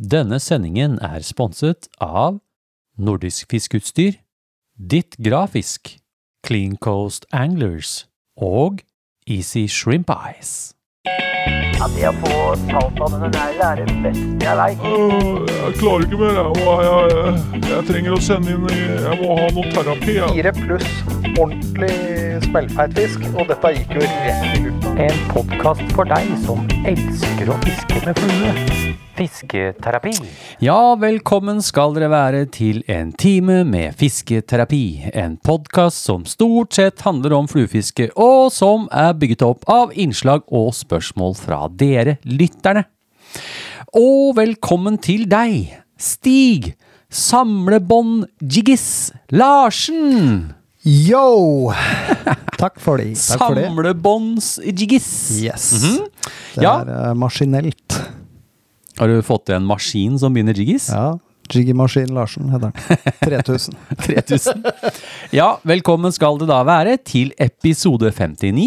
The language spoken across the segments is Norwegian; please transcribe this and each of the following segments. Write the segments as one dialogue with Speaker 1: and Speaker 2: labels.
Speaker 1: Denne sendingen er sponset av Nordisk Fiskeutstyr, Ditt Grafisk, Clean Coast Anglers og Easy Shrimp Eyes.
Speaker 2: Ja, det å få talt av denne neglen er det beste jeg veit.
Speaker 3: Øh, Jeg klarer ikke mer. Jeg, Åh, jeg, jeg, jeg trenger å sende inn Jeg må ha noe terapi. Jeg.
Speaker 4: Fire pluss ordentlig smellfeit fisk, og dette gikk jo rett i lufta.
Speaker 2: En podkast for deg som elsker å fiske med flue. Fisketerapi.
Speaker 1: Ja, velkommen skal dere være til en time med fisketerapi. En podkast som stort sett handler om fluefiske, og som er bygget opp av innslag og spørsmål fra dere lytterne. Og velkommen til deg, Stig Samlebånd-Jiggis Larsen.
Speaker 5: Yo! Takk for det. Takk for det.
Speaker 1: Samlebånds-Jiggis.
Speaker 5: Yes. Det
Speaker 1: Ja.
Speaker 5: er eh, maskinelt.
Speaker 1: Har du fått en maskin som begynner jiggis?
Speaker 5: Ja. Jiggy Maskin Larsen heter den. 3000.
Speaker 1: 3000. Ja, velkommen skal det da være til episode 59.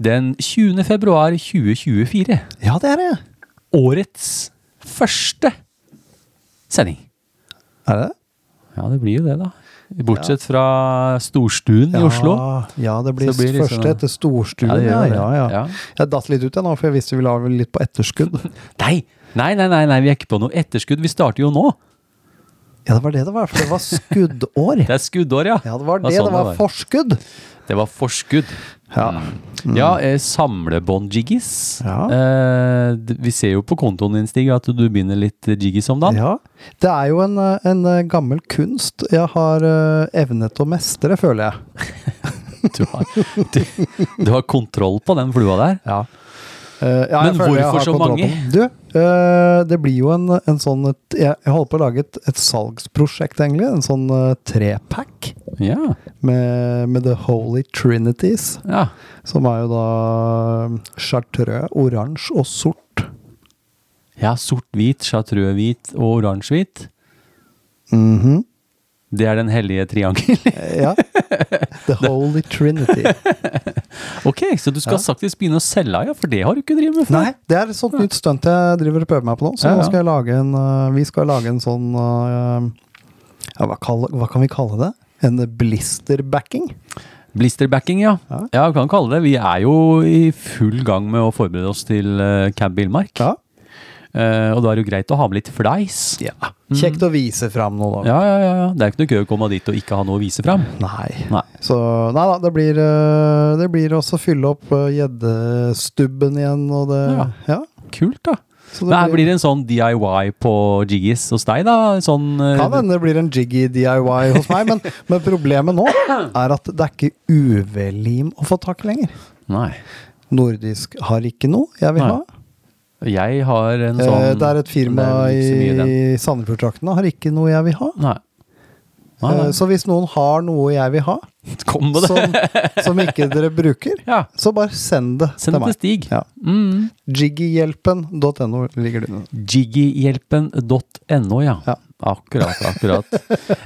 Speaker 1: Den 20. februar 2024.
Speaker 5: Ja, det er det.
Speaker 1: Årets første sending.
Speaker 5: Er det?
Speaker 1: Ja, det blir jo det, da. Bortsett fra storstuen i Oslo.
Speaker 5: Ja, det blir,
Speaker 1: Så blir det liksom-
Speaker 5: første etter storstuen.
Speaker 1: Ja, det
Speaker 5: Ja,
Speaker 1: gjør det.
Speaker 5: ja, ja,
Speaker 1: Ja.
Speaker 5: Jeg datt litt ut, jeg nå, for jeg visste vi la vel litt på etterskudd.
Speaker 1: Nei, nei, nei, nei, nei, vi er ikke på noe etterskudd. Vi starter jo nå.
Speaker 5: Ja, det var det det var, for det var skuddår.
Speaker 1: Det er skuddår, ja.
Speaker 5: Ja, det var det.
Speaker 1: sånn
Speaker 5: Det var forskudd.
Speaker 1: Det var forskudd.
Speaker 5: Ja.
Speaker 1: Ja, eh, samlebånd-jiggis.
Speaker 5: Ja.
Speaker 1: Eh, d- vi ser jo på kontoen din, Stig, at du begynner litt eh, jiggis om dagen.
Speaker 5: Ja. Det er jo en, eh, en eh, gammel kunst jeg har eh, evnet å mestre, føler jeg.
Speaker 1: Du har, du, du har kontroll på den flua der.
Speaker 5: Ja. Eh, ja,
Speaker 1: Men
Speaker 5: jeg føler jeg
Speaker 1: hvorfor
Speaker 5: har
Speaker 1: så
Speaker 5: kontroll
Speaker 1: mange?
Speaker 5: på den. Du, eh, det blir jo en, en sånn et, Jeg jeg holder på å lage et, et salgsprosjekt, egentlig. En sånn eh, trepack
Speaker 1: Ja.
Speaker 5: med, med The Holy Trinities.
Speaker 1: ja.
Speaker 5: Som er jo da eh, chartreux, oransje og sort.
Speaker 1: ja Sort-hvit, chartreux-hvit og oransje-hvit.
Speaker 5: Mhm.
Speaker 1: Det er den hellige triangel.
Speaker 5: Eh, Ja. The Holy Trinity.
Speaker 1: ok, så du skal faktisk begynne å selge, ja, for det har du ikke drevet med før.
Speaker 5: Nei, det er et sånt nytt stunt jeg driver og prøver meg på nå. Så
Speaker 1: Ja, ja.
Speaker 5: nå skal jeg lage en eh, Vi skal lage en sånn eh, ja, hva, kalle, hva kan vi kalle det? En blisterbacking?
Speaker 1: Blisterbacking, ja.
Speaker 5: Ja.
Speaker 1: Ja, vi kan kalle det. Vi er jo i full gang med å forberede oss til uh, Camp Villmark.
Speaker 5: Ja.
Speaker 1: Eh, og da er det jo greit å ha med litt fleis.
Speaker 5: Ja. Kjekt å vise fram noe, da.
Speaker 1: Mm. Ja, ja, ja. ja. Det er ikke noe gøy å komme dit og ikke ha noe å vise fram.
Speaker 5: Nei.
Speaker 1: Nei.
Speaker 5: Så nei da, det blir, øh, det blir også å fylle opp øh, gjeddestubben igjen og det
Speaker 1: Ja.
Speaker 5: Ja.
Speaker 1: Kult, da.
Speaker 5: så
Speaker 1: Nei, blir det en sånn DIY på Jiggis hos deg, da? Sånn eh,
Speaker 5: kan hende det blir en jiggy DIY hos meg, men, men problemet nå er at det er ikke UV-lim å få tak i lenger.
Speaker 1: Nei.
Speaker 5: Nordisk har ikke noe jeg vil
Speaker 1: Nei,
Speaker 5: ha.
Speaker 1: Jeg har en sånn
Speaker 5: Eh, det er et firma
Speaker 1: Det er ikke så mye den.
Speaker 5: i Sandefjordtraktene har ikke noe jeg vil ha.
Speaker 1: Nei. Nei,
Speaker 5: Eh,
Speaker 1: nei.
Speaker 5: Så hvis noen har noe jeg vil ha,
Speaker 1: Kom med det!
Speaker 5: som, som ikke dere bruker,
Speaker 1: ja.
Speaker 5: så bare send det
Speaker 1: Send
Speaker 5: til
Speaker 1: det
Speaker 5: meg.
Speaker 1: til Stig.
Speaker 5: Ja.
Speaker 1: Mm.
Speaker 5: Jiggyhjelpen.no ligger det under.
Speaker 1: Jiggyhjelpen.no, ja.
Speaker 5: Ja.
Speaker 1: Akkurat, akkurat.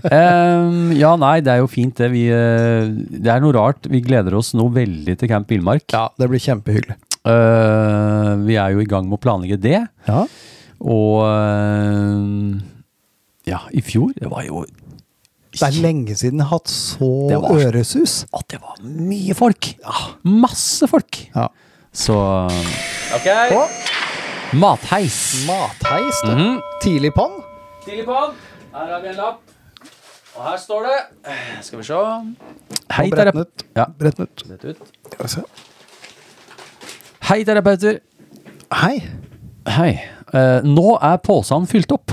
Speaker 1: Em, ja, nei, det er jo fint det. Vi, eh, det er noe rart. Vi gleder oss nå veldig til Camp Villmark.
Speaker 5: Det blir kjempehyggelig.
Speaker 1: Eh, vi er jo i gang med å planlegge det.
Speaker 5: Ja.
Speaker 1: Og eh, ja, i fjor Det var jo
Speaker 5: Det er lenge siden jeg har hatt så
Speaker 1: Det var-
Speaker 5: øresus.
Speaker 1: at det var mye folk! Masse folk!
Speaker 5: Ja.
Speaker 1: Så
Speaker 5: Og
Speaker 1: Matheis.
Speaker 5: matheis, du.
Speaker 1: Mhm.
Speaker 5: Tidlig pann.
Speaker 1: Tidlig på'n. Her har vi en lapp. Og her står det eh, Skal vi se. Hei,
Speaker 5: Og
Speaker 1: terape-
Speaker 5: bretten ut.
Speaker 1: Ja,
Speaker 5: Bretten ut.
Speaker 1: rett ut.
Speaker 5: Skal vi se.
Speaker 1: Hei, terapeuter.
Speaker 5: Hei.
Speaker 1: Hei. Eh, nå er posen fylt opp.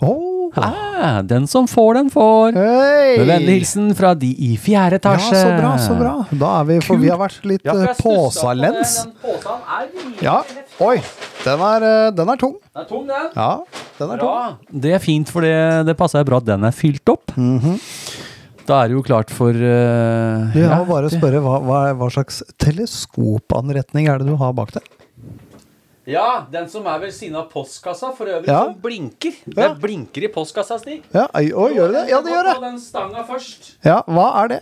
Speaker 5: Oh.
Speaker 1: Ah, den som får, den får.
Speaker 5: Hei.
Speaker 1: Med vennlig hilsen fra de i fjerde
Speaker 5: Ja,
Speaker 1: etasje.
Speaker 5: så bra, så bra. Da er vi, for vi har vært litt eh, påsalens. Ja. Oi. Den er, eh, den er tung.
Speaker 1: Den er tung, den.
Speaker 5: Ja, den er tung.
Speaker 1: Bra. Det er fint, for det, det passer bra at den er fylt opp.
Speaker 5: Mhm.
Speaker 1: Da er det jo klart for eh,
Speaker 5: Du, jeg
Speaker 1: ja,
Speaker 5: må bare
Speaker 1: det-
Speaker 5: spørre, hva, hva, hva slags teleskopanretning er det du har bak deg?
Speaker 1: Ja, den som er ved siden av postkassa for øvrig,
Speaker 5: Ja.
Speaker 1: som blinker.
Speaker 5: Ja.
Speaker 1: Den blinker i postkassa, Stig.
Speaker 5: Ja, oi, oi, gjør det det? Ja, det gjør det.
Speaker 1: På den stanga først.
Speaker 5: Ja, hva er det?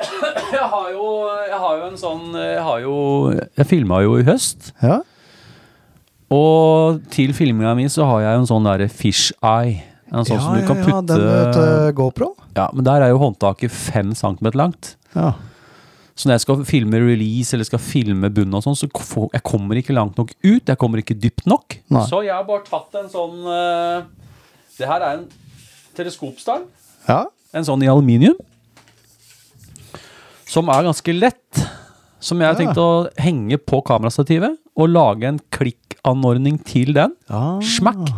Speaker 1: Jeg har jo, eh, jeg har jo en sånn Jeg har jo Jeg filma jo i høst.
Speaker 5: Ja.
Speaker 1: Og til filminga mi så har jeg jo en sånn derre fish eye. En sånn som du kan
Speaker 5: ja,
Speaker 1: putte
Speaker 5: den med eh, GoPro.
Speaker 1: Ja, men der er jo håndtaket fem centimeter langt.
Speaker 5: Ja.
Speaker 1: Så når jeg skal filme release eller skal filme bunnen og sånn, så får- jeg kommer jeg ikke langt nok ut. Jeg kommer ikke dypt nok.
Speaker 5: Nei.
Speaker 1: Så jeg har bare tatt en sånn eh, Det her er en teleskopstang.
Speaker 5: ja.
Speaker 1: En sånn i aluminium. Som er ganske lett. Som jeg har tenkt å henge på kamerastativet og lage en klikkanordning til den.
Speaker 5: Ah.
Speaker 1: Smakk!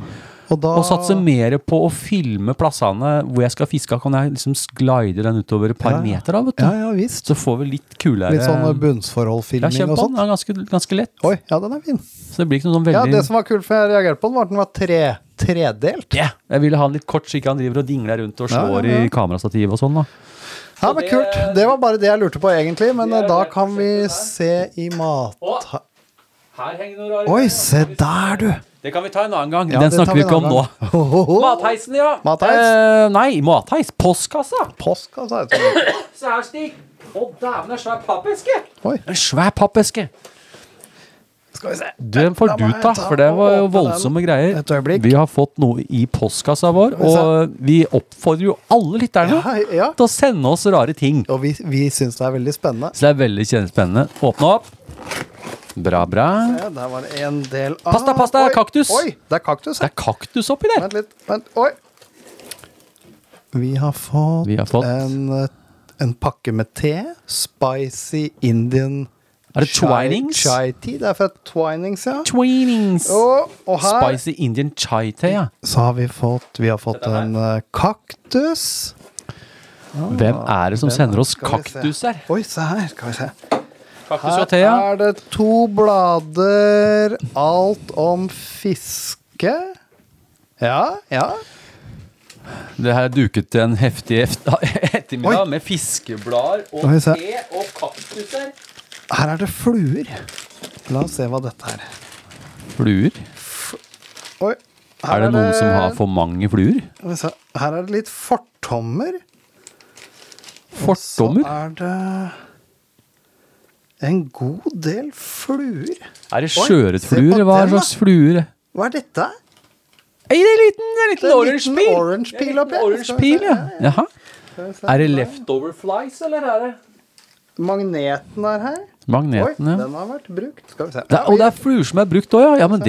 Speaker 5: Og da
Speaker 1: Og satse mer på å filme plassene hvor jeg skal fiske. Kan jeg liksom glide den utover et par
Speaker 5: Ja, ja.
Speaker 1: meter, da, vet du.
Speaker 5: Ja, ja visst.
Speaker 1: Så får vi litt kulere
Speaker 5: Litt sånn
Speaker 1: Ja,
Speaker 5: bunnsforholdfilming
Speaker 1: kjenn på
Speaker 5: og
Speaker 1: den.
Speaker 5: sånt.
Speaker 1: Den er ganske, ganske lett.
Speaker 5: Oi, ja, den er fin.
Speaker 1: Så det blir ikke noe sånn
Speaker 5: Ja,
Speaker 1: veldig
Speaker 5: Det som var kult, for jeg reagerte på den, var at den var tre, tredelt.
Speaker 1: Ja, Jeg ville ha den litt kort, så ikke han driver og dingler rundt og
Speaker 5: Ja,
Speaker 1: slår
Speaker 5: ja, ja.
Speaker 1: i kamerastativet og sånn. da
Speaker 5: Ja, men
Speaker 1: det-
Speaker 5: kult. Det var bare det jeg lurte på, egentlig. Men
Speaker 1: Det er
Speaker 5: eh, da
Speaker 1: det
Speaker 5: kan vi
Speaker 1: prosjektet der.
Speaker 5: se i mat...
Speaker 1: Å. Her henger noe rare
Speaker 5: Oi, se der, du!
Speaker 1: Det kan vi ta en annen gang.
Speaker 5: Ja,
Speaker 1: den
Speaker 5: det tar
Speaker 1: snakker vi
Speaker 5: en
Speaker 1: ikke om nå.
Speaker 5: annen gang. Ho, ho, ho.
Speaker 1: Matheisen, ja.
Speaker 5: Matheis.
Speaker 1: Eh, nei, matheis. Postkassa.
Speaker 5: Postkassa, heter det.
Speaker 1: Se her, Stig. Å, dæven, en svær pappeske.
Speaker 5: Oi.
Speaker 1: En svær pappeske.
Speaker 5: Skal vi se.
Speaker 1: Den får
Speaker 5: Da må
Speaker 1: du
Speaker 5: jeg
Speaker 1: ta,
Speaker 5: ta
Speaker 1: for det var jo
Speaker 5: og åpne
Speaker 1: voldsomme
Speaker 5: den
Speaker 1: greier.
Speaker 5: et øyeblikk.
Speaker 1: Vi har fått noe i postkassa vår,
Speaker 5: vi se.
Speaker 1: og vi oppfordrer jo alle lytterne
Speaker 5: Ja, ja.
Speaker 1: til å sende oss rare ting.
Speaker 5: Og vi, vi syns det er veldig spennende.
Speaker 1: Så det er veldig spennende. Åpne opp. Bra, bra.
Speaker 5: Ja, der var det en del av
Speaker 1: Pasta, pasta,
Speaker 5: Oi,
Speaker 1: kaktus.
Speaker 5: Oi, det er kaktus.
Speaker 1: Det
Speaker 5: ja.
Speaker 1: er kaktus oppi der.
Speaker 5: Vent litt. Vent. Oi. Vi har fått,
Speaker 1: Vi har fått-
Speaker 5: En, eh, en pakke med te. Spicy Indian
Speaker 1: Er det
Speaker 5: chai-
Speaker 1: Twinings?
Speaker 5: Chai tea. Det er fra Twinings, ja.
Speaker 1: Tweenings.
Speaker 5: Og, og her
Speaker 1: Spicy Indian chai te, ja.
Speaker 5: så har vi fått Vi har fått en eh, kaktus.
Speaker 1: Hvem er det som sender oss
Speaker 5: Ah, Skal vi se.
Speaker 1: kaktus her?
Speaker 5: Oi, se her. Skal vi se.
Speaker 1: Kaktus
Speaker 5: Her
Speaker 1: og te, ja.
Speaker 5: er det to blader, alt om fiske. Ja, ja.
Speaker 1: Det her er duket til en heftig eft- ettermiddag
Speaker 5: Oi.
Speaker 1: med fiskeblader og
Speaker 5: Skal vi se.
Speaker 1: te og kaktuser.
Speaker 5: Her er det fluer. La oss se hva dette er.
Speaker 1: Fluer?
Speaker 5: Oi. her
Speaker 1: Er det noen som har for mange fluer?
Speaker 5: Skal vi se. Her er det litt fortommer. Så
Speaker 1: Fortommer?
Speaker 5: er det en god del fluer.
Speaker 1: Er det
Speaker 5: Oi, se
Speaker 1: sjøørretfluer?
Speaker 5: på
Speaker 1: Hva
Speaker 5: den, da.
Speaker 1: slags fluer?
Speaker 5: Hva er dette?
Speaker 1: Ei, det er en liten, det er en
Speaker 5: Det
Speaker 1: liten
Speaker 5: er en
Speaker 1: orange
Speaker 5: liten
Speaker 1: pil.
Speaker 5: orange
Speaker 1: Det er en
Speaker 5: pil
Speaker 1: liten
Speaker 5: oppi her.
Speaker 1: orange
Speaker 5: Skal vi
Speaker 1: pil,
Speaker 5: se.
Speaker 1: ja. Jaha.
Speaker 5: Skal vi se.
Speaker 1: Er det leftover flies, eller er det
Speaker 5: Magneten er her. Oi,
Speaker 1: Magneten, ja.
Speaker 5: den har vært brukt. Skal vi se.
Speaker 1: Det er, og det er fluer som er brukt òg, ja. ja. Men det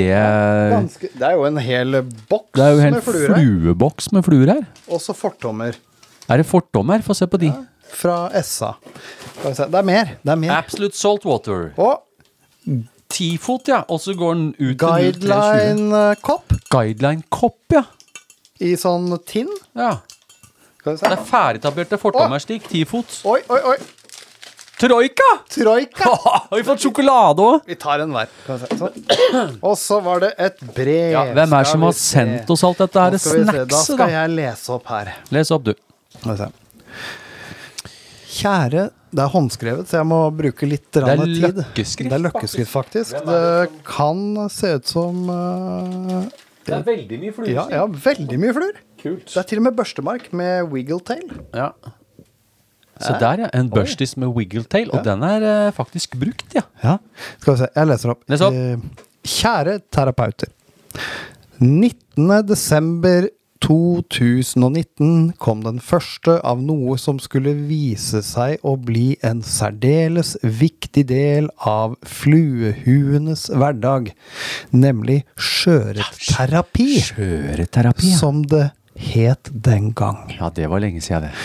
Speaker 5: Ganske, det er jo en hel boks
Speaker 1: Det er jo en
Speaker 5: med
Speaker 1: hel
Speaker 5: fluer her.
Speaker 1: flueboks med fluer her.
Speaker 5: Også fortommer
Speaker 1: Er det fortommer? Få se på de.
Speaker 5: fra Essa. Skal vi se. Det er mer. Det er mer.
Speaker 1: Absolute saltwater.
Speaker 5: Og
Speaker 1: Tifot, ja. Og så går den ut til 0320.
Speaker 5: guideline-kopp
Speaker 1: Guideline-kopp, ja.
Speaker 5: i sånn tinn.
Speaker 1: ja.
Speaker 5: Skal vi
Speaker 1: Det
Speaker 5: se.
Speaker 1: er ferdigetablerte fortommerstikk. Tifot.
Speaker 5: Oi, oi, oi.
Speaker 1: Troika!
Speaker 5: Troika!
Speaker 1: Har vi fått sjokolade òg?
Speaker 5: Vi tar en hver. Skal vi se. Sånn. Og så var det et brev.
Speaker 1: Ja, hvem er det som har sendt oss alt dette her
Speaker 5: snackset, da?
Speaker 1: snackset,
Speaker 5: skal
Speaker 1: da?
Speaker 5: jeg lese opp her.
Speaker 1: Les opp, du.
Speaker 5: Skal vi se. Kjære Det er håndskrevet, så jeg må bruke litt
Speaker 1: er
Speaker 5: rann tid.
Speaker 1: løkkeskrift,
Speaker 5: Det er løkkeskrift, faktisk. Det kan se ut som eh,
Speaker 1: Det er veldig mye fluer.
Speaker 5: ja, ja, veldig mye fluer.
Speaker 1: Kult.
Speaker 5: Det er til og med børstemark med wiggletail.
Speaker 1: Ja. Så der, ja. En børstis med wiggletail. Og den er eh, faktisk brukt, ja.
Speaker 5: Ja. Skal vi se, jeg leser opp.
Speaker 1: Les opp.
Speaker 5: Eh, Kjære terapeuter. 19. desember 2019 kom den første av noe som skulle vise seg å bli en særdeles viktig del av fluehuenes hverdag, nemlig skjøretterapi,
Speaker 1: Kjøreterapi, ja.
Speaker 5: som det het den gang.
Speaker 1: Ja, det var lenge siden, det.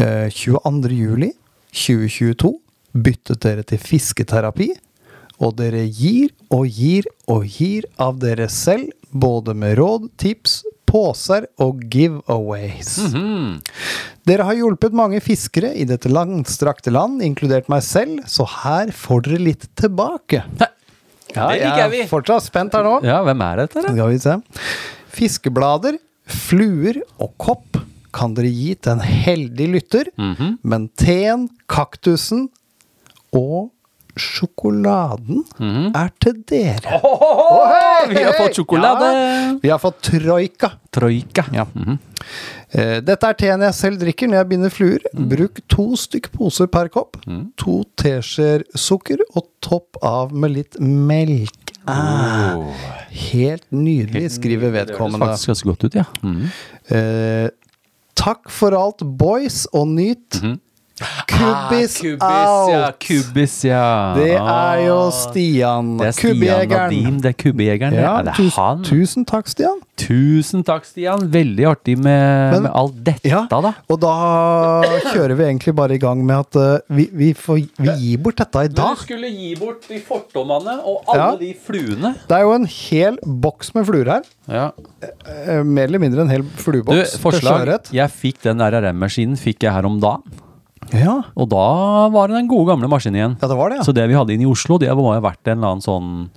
Speaker 5: Eh, 22. juli 2022 byttet dere til fisketerapi, og dere gir og gir og gir av dere selv, både med råd, tips, poser og giveaways.
Speaker 1: Mhm.
Speaker 5: Dere har hjulpet mange fiskere i dette langstrakte land, inkludert meg selv, så her får dere litt tilbake. Ja,
Speaker 1: det liker
Speaker 5: jeg
Speaker 1: vi.
Speaker 5: er fortsatt spent her nå.
Speaker 1: Ja, hvem er dette, da?
Speaker 5: Skal vi se. Fiskeblader, fluer og kopp kan dere gi til en heldig lytter,
Speaker 1: Mhm.
Speaker 5: men teen, kaktusen og sjokoladen er til dere.
Speaker 1: Mhm. Vi har fått sjokolade.
Speaker 5: Ja, vi har fått troika.
Speaker 1: Troika.
Speaker 5: Ja. Eh, Dette er teen jeg selv drikker når jeg binder fluer.
Speaker 1: Mm.
Speaker 5: Bruk to stykk poser per kopp, to teskjeer sukker og topp av med litt melk. Helt nydelig, skriver vedkommende.
Speaker 1: Faktisk ganske godt ut, ja. Mm.
Speaker 5: Eh, takk for alt, boys, og nyt. Kubis out!
Speaker 1: Kubis, Mhm. Ah, ja. Ah,
Speaker 5: Det er jo Stian,
Speaker 1: Det er Stian Nadim, det er kubbejegeren.
Speaker 5: Ja,
Speaker 1: det er
Speaker 5: tusen,
Speaker 1: han.
Speaker 5: tusen takk, Stian.
Speaker 1: Tusen takk, Stian. Veldig artig med,
Speaker 5: Men-
Speaker 1: med alt dette,
Speaker 5: Ja,
Speaker 1: da.
Speaker 5: og da kjører vi egentlig bare i gang med at eh, vi, vi, får, vi gir bort dette i dag.
Speaker 1: skulle gi bort de fordommene og
Speaker 5: alle Ja.
Speaker 1: de fluene.
Speaker 5: Det er jo en hel boks med fluer her. Eh, Mer eller mindre en hel
Speaker 1: Du,
Speaker 5: flueboks
Speaker 1: forslag.
Speaker 5: sjøørret.
Speaker 1: Jeg fikk den RRM-maskinen fikk jeg her om dagen.
Speaker 5: Ja.
Speaker 1: Og da var det den gode gamle maskinen igjen.
Speaker 5: ja, det var det, ja.
Speaker 1: Så det vi hadde inne i Oslo, det må ha vært en eller annen sånn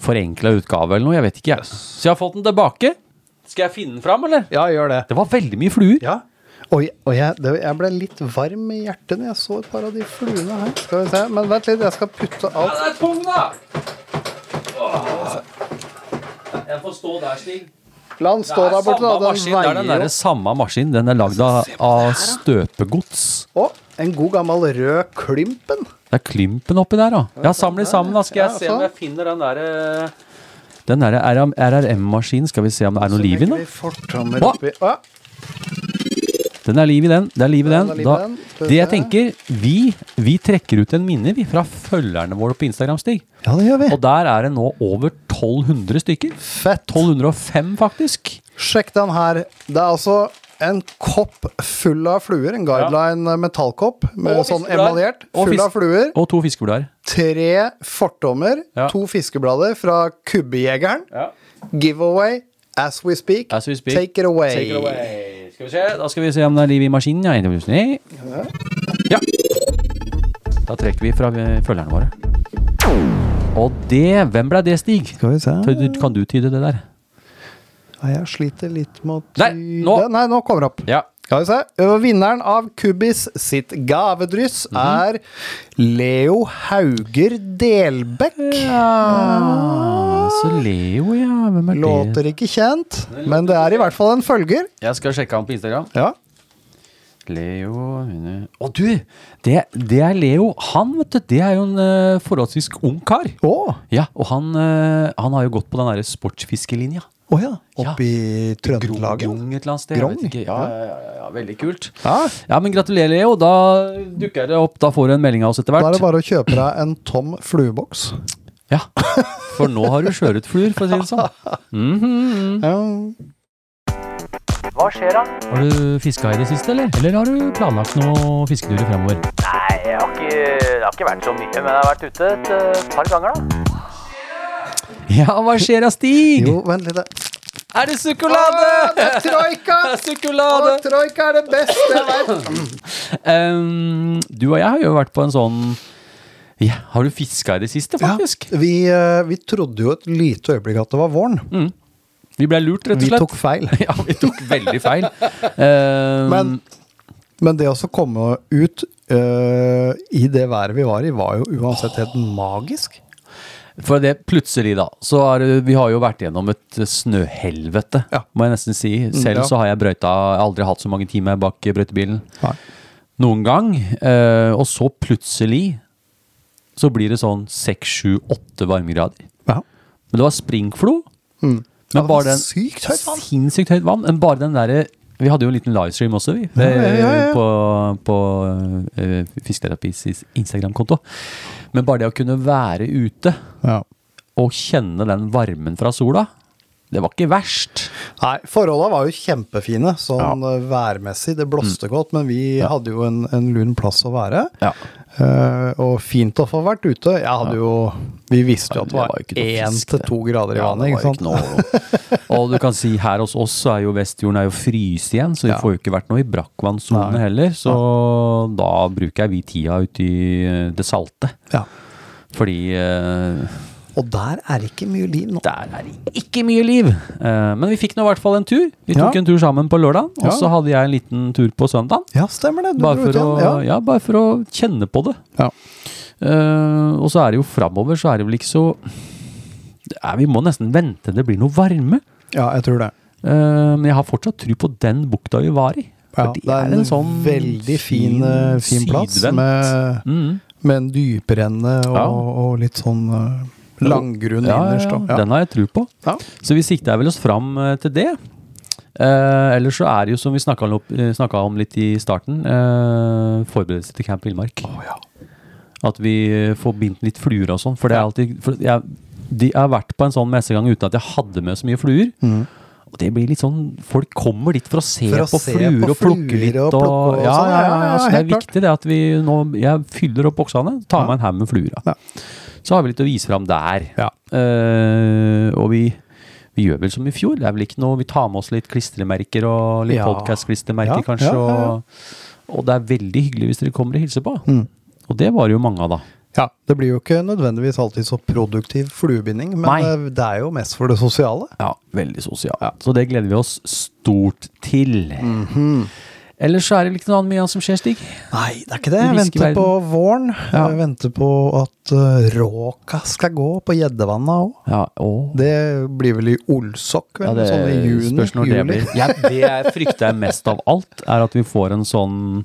Speaker 1: forenkla utgave eller noe. Jeg vet ikke, jeg. Så jeg har fått den tilbake. Skal jeg finne den fram, eller?
Speaker 5: Ja, gjør det.
Speaker 1: Det var veldig mye fluer.
Speaker 5: Ja. Og, jeg- og jeg, det, jeg ble litt varm i hjertet når jeg så et par av de fluene her. Skal vi se. Men vent litt, jeg skal putte
Speaker 1: Ja,
Speaker 5: alt
Speaker 1: den er tung, da! Åh. Jeg får stå der, Stig.
Speaker 5: La den stå der borte, da.
Speaker 1: samme maskin. Det er den
Speaker 5: Den
Speaker 1: der samme maskinen. Den
Speaker 5: veier jo
Speaker 1: er lagd av, av støpegods.
Speaker 5: Å, en god gammel rød Klympen.
Speaker 1: Det er Klympen oppi der, da. Ja, samle sammen, da. Skal
Speaker 5: Ja,
Speaker 1: jeg se om
Speaker 5: sånn.
Speaker 1: jeg finner den derre Den derre RRM-maskinen. Skal vi se om det er noe liv i den? da?
Speaker 5: Fortommer
Speaker 1: Hva?
Speaker 5: oppi Å,
Speaker 1: Den er liv i den. Det er liv i
Speaker 5: Den
Speaker 1: den.
Speaker 5: er liv i
Speaker 1: Da,
Speaker 5: den. Skal vi
Speaker 1: det jeg
Speaker 5: se.
Speaker 1: tenker, vi, vi trekker ut en minne vi fra følgerne våre på Instagram, Stig.
Speaker 5: Ja, det gjør vi.
Speaker 1: Og der er det nå over 1200 stykker.
Speaker 5: Fett.
Speaker 1: 1205, faktisk.
Speaker 5: Sjekk den her. Det er altså en kopp full av fluer. En guideline metallkopp med
Speaker 1: Og
Speaker 5: sånn
Speaker 1: fiskeblader.
Speaker 5: emaljert.
Speaker 1: Og
Speaker 5: Full av
Speaker 1: fisk-
Speaker 5: fluer.
Speaker 1: Og to fiskeblader.
Speaker 5: Tre fortommer.
Speaker 1: Ja.
Speaker 5: To fiskeblader fra Kubbejegeren. Giveaway as we speak.
Speaker 1: As we speak.
Speaker 5: Take it away.
Speaker 1: Take it away. Skal vi se, da skal vi se om det er liv i maskinen. Ja, en, to, tre. ja. Da trekker vi fra eh, følgerne våre. Og det Hvem ble det, Stig?
Speaker 5: Skal vi se
Speaker 1: Tør du- Kan du tyde det der?
Speaker 5: Nei, Jeg sliter litt med å
Speaker 1: Nei,
Speaker 5: tyde-
Speaker 1: nå.
Speaker 5: Nei, nå kommer det opp.
Speaker 1: Ja.
Speaker 5: Skal vi se. Og Vinneren av Kubis sitt gavedryss
Speaker 1: Mhm.
Speaker 5: er Leo Hauger
Speaker 1: Eh.
Speaker 5: Delbekk.
Speaker 1: Ah, så Leo, ja. Hvem er det?
Speaker 5: Låter ikke kjent, men det er i hvert fall en følger.
Speaker 1: Jeg skal sjekke han på Instagram.
Speaker 5: Ja.
Speaker 1: Leo hun- Å, du! Det, det er Leo. Han, vet du, det er jo en eh, forholdsvis ung kar.
Speaker 5: Å
Speaker 1: Ja, og han, eh, han har jo gått på den derre sportsfiskelinja.
Speaker 5: å ja. Oppe i Trøndelag. ja.
Speaker 1: Grong et eller annet sted.
Speaker 5: Grong?
Speaker 1: Jeg vet ikke. Ja, ja, ja, ja, ja, veldig kult.
Speaker 5: Ja.
Speaker 1: Ja, men gratulerer, Leo. Da dukker det opp. Da får du en melding av oss etter
Speaker 5: Da er det
Speaker 1: hvert.
Speaker 5: bare å kjøpe deg en tom flueboks.
Speaker 1: Ja. For nå har du sjøørretfluer, for å si det sånn.
Speaker 5: Ja.
Speaker 2: Hva skjer da?
Speaker 1: Har du fiska i det siste, eller? Eller har du planlagt noen fisketurer fremover?
Speaker 2: Nei, jeg har ikke, det har ikke vært så mye, men jeg har vært ute et eh, par ganger da.
Speaker 1: Ja, hva skjer da, Stig?
Speaker 5: Jo, vent litt.
Speaker 1: Er det
Speaker 5: Ah,
Speaker 1: sukkolade?
Speaker 5: det er troika!
Speaker 1: Det er
Speaker 5: Å,
Speaker 1: sukkolade!
Speaker 5: troika er det beste jeg vet!
Speaker 1: Ehm, du og jeg har jo vært på en sånn ja, Har du fiska i det siste,
Speaker 5: Ja,
Speaker 1: faktisk?
Speaker 5: vi, eh, vi trodde jo et lite øyeblikk at det var våren.
Speaker 1: Mm. Vi ble lurt, rett og
Speaker 5: Vi
Speaker 1: slett.
Speaker 5: tok feil.
Speaker 1: ja, vi tok veldig feil. Ehm,
Speaker 5: Men, men det å så komme ut eh, i det været vi var i, var jo uansett helt magisk.
Speaker 1: For det plutselig, da. Så er, det- vi har jo vært gjennom et snøhelvete,
Speaker 5: Ja. Mm,
Speaker 1: må jeg nesten si. Selv
Speaker 5: ja.
Speaker 1: så har jeg brøyta Jeg har aldri hatt så mange timer bak brøytebilen
Speaker 5: Nei.
Speaker 1: noen gang. Eh, og så plutselig så blir det sånn seks, sju, åtte varmegrader.
Speaker 5: Ja.
Speaker 1: Men det var springflo.
Speaker 5: Mm. Ja,
Speaker 1: Men
Speaker 5: det
Speaker 1: bare
Speaker 5: var
Speaker 1: den,
Speaker 5: sykt høyt vann.
Speaker 1: Sinnssykt høyt vann. Men bare den derre Vi hadde jo en liten livestream også, vi.
Speaker 5: ja, ja, ja.
Speaker 1: På, på eh, Fisketerapis Instagram-konto. Men bare det å kunne være ute
Speaker 5: Ja.
Speaker 1: og kjenne den varmen fra sola, det var ikke verst.
Speaker 5: Nei, forholda var jo kjempefine sånn eh, værmessig. Det blåste godt, men vi hadde jo en, en lun plass å være.
Speaker 1: Mm. Ja.
Speaker 5: Eh, og fint å få vært ute. Jeg hadde jo Vi visste jo at det
Speaker 1: Nei, det
Speaker 5: var
Speaker 1: var jo ikke noe
Speaker 5: én
Speaker 1: fisk,
Speaker 5: til
Speaker 1: det.
Speaker 5: to grader i vannet, ikke sant?
Speaker 1: og du kan si her hos oss så er jo Vestfjorden er jo fryst igjen, så vi
Speaker 5: Ja.
Speaker 1: får jo ikke vært noe i brakkvannssone heller. Så da bruker jeg vi tida ute i eh, det salte.
Speaker 5: Ja.
Speaker 1: Fordi eh,
Speaker 5: Og der er det ikke mye liv nå.
Speaker 1: der er det ikke mye liv. Eh, men vi fikk nå i hvert fall en tur. Vi tok
Speaker 5: Ja.
Speaker 1: en tur sammen på lørdag, og
Speaker 5: Ja.
Speaker 1: så hadde jeg en liten tur på søndag.
Speaker 5: Ja, stemmer det. Du
Speaker 1: Bare
Speaker 5: dro ut
Speaker 1: for, å,
Speaker 5: igjen.
Speaker 1: ja.
Speaker 5: Ja.
Speaker 1: bare for å kjenne på det.
Speaker 5: Ja.
Speaker 1: Eh, og så er det jo framover, så er det vel ikke så det er, Vi må nesten vente det blir noe varme.
Speaker 5: ja, jeg tror det.
Speaker 1: Eh, men jeg har fortsatt tro på den bukta vi var i. For
Speaker 5: Ja, det er en sånn veldig fin, eh, fin plass
Speaker 1: sydvendt.
Speaker 5: med,
Speaker 1: Mm.
Speaker 5: med en dyprenne og,
Speaker 1: Ja.
Speaker 5: og litt sånn eh, Langgrunn innerst. da.
Speaker 1: Den har jeg tro på.
Speaker 5: Ja.
Speaker 1: Så vi sikter vel oss fram eh, til det. Eh, ellers så er det jo, som vi snakka om, eh, snakket om litt i starten, eh, forberedelse til Camp Villmark. At vi eh, får bindt litt fluer og sånn. For det er alltid for jeg, De har vært på en sånn messegang uten at jeg hadde med så mye fluer.
Speaker 5: Mm.
Speaker 1: Og det blir litt sånn Folk kommer dit for å se
Speaker 5: For å
Speaker 1: på
Speaker 5: se
Speaker 1: fluer
Speaker 5: på
Speaker 1: og plukke
Speaker 5: fluer
Speaker 1: litt.
Speaker 5: og
Speaker 1: Og,
Speaker 5: plukke og
Speaker 1: ja,
Speaker 5: sånn.
Speaker 1: ja, ja, ja,
Speaker 5: Ja, ja,
Speaker 1: så det er
Speaker 5: helt klart.
Speaker 1: viktig det at vi nå Jeg fyller opp boksene, tar med en haug med fluer. da.
Speaker 5: Ja.
Speaker 1: Så har vi litt å vise fram der.
Speaker 5: Ja.
Speaker 1: Eh, og vi, vi gjør vel som i fjor. Det er vel ikke noe, Vi tar med oss litt klistremerker og litt
Speaker 5: Ja.
Speaker 1: podcast-klistremerker,
Speaker 5: Ja,
Speaker 1: kanskje.
Speaker 5: ja, ja, Mm. ja.
Speaker 1: Og, og det er veldig hyggelig hvis dere kommer og hilser på. Og det var det jo mange av, da.
Speaker 5: Ja, Det blir jo ikke nødvendigvis alltid så produktiv fluebinding, men eh,
Speaker 1: Nei.
Speaker 5: det, det er jo mest for det sosiale.
Speaker 1: Ja, veldig sosial. Så det gleder vi oss stort til.
Speaker 5: Mm.
Speaker 1: Mhm. Ellers så er det ikke noe annet mye annet som skjer, Stig.
Speaker 5: Nei, det er ikke det.
Speaker 1: Det
Speaker 5: Jeg
Speaker 1: visker
Speaker 5: venter på våren.
Speaker 1: Ja.
Speaker 5: Jeg venter på at eh, råka skal gå på gjeddevanna òg.
Speaker 1: Ja, å.
Speaker 5: Det blir vel i Olsok, vel? sånn i juni?
Speaker 1: spørs når det
Speaker 5: juli.
Speaker 1: blir. Ja, det jeg frykter jeg mest av alt, er at vi får en sånn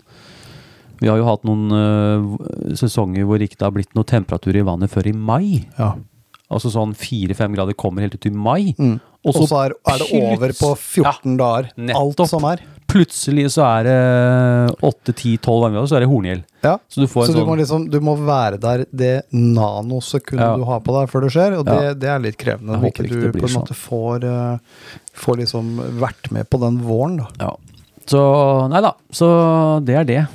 Speaker 1: Vi har jo hatt noen øh, sesonger hvor ikke det har blitt noe temperatur i vannet før i mai.
Speaker 5: Ja.
Speaker 1: Altså sånn fire-fem grader kommer helt ut i mai.
Speaker 5: Mm. Og så er, er det over på 14 dager, alt
Speaker 1: nettopp.
Speaker 5: som er.
Speaker 1: Plutselig så er det åtte-ti-tolv varmegrader, så er det horngjeld.
Speaker 5: Ja.
Speaker 1: Så du får en
Speaker 5: Så du
Speaker 1: sånn
Speaker 5: må, liksom, du må være der det nanosekundet
Speaker 1: Ja.
Speaker 5: du har på deg før det skjer, og det,
Speaker 1: Ja.
Speaker 5: det er litt krevende.
Speaker 1: Jeg
Speaker 5: Når
Speaker 1: håper
Speaker 5: ikke
Speaker 1: ikke
Speaker 5: du
Speaker 1: det blir sånn.
Speaker 5: på en måte får, eh, får liksom vært med på den våren, da.
Speaker 1: ja. Så nei da. Så det er det.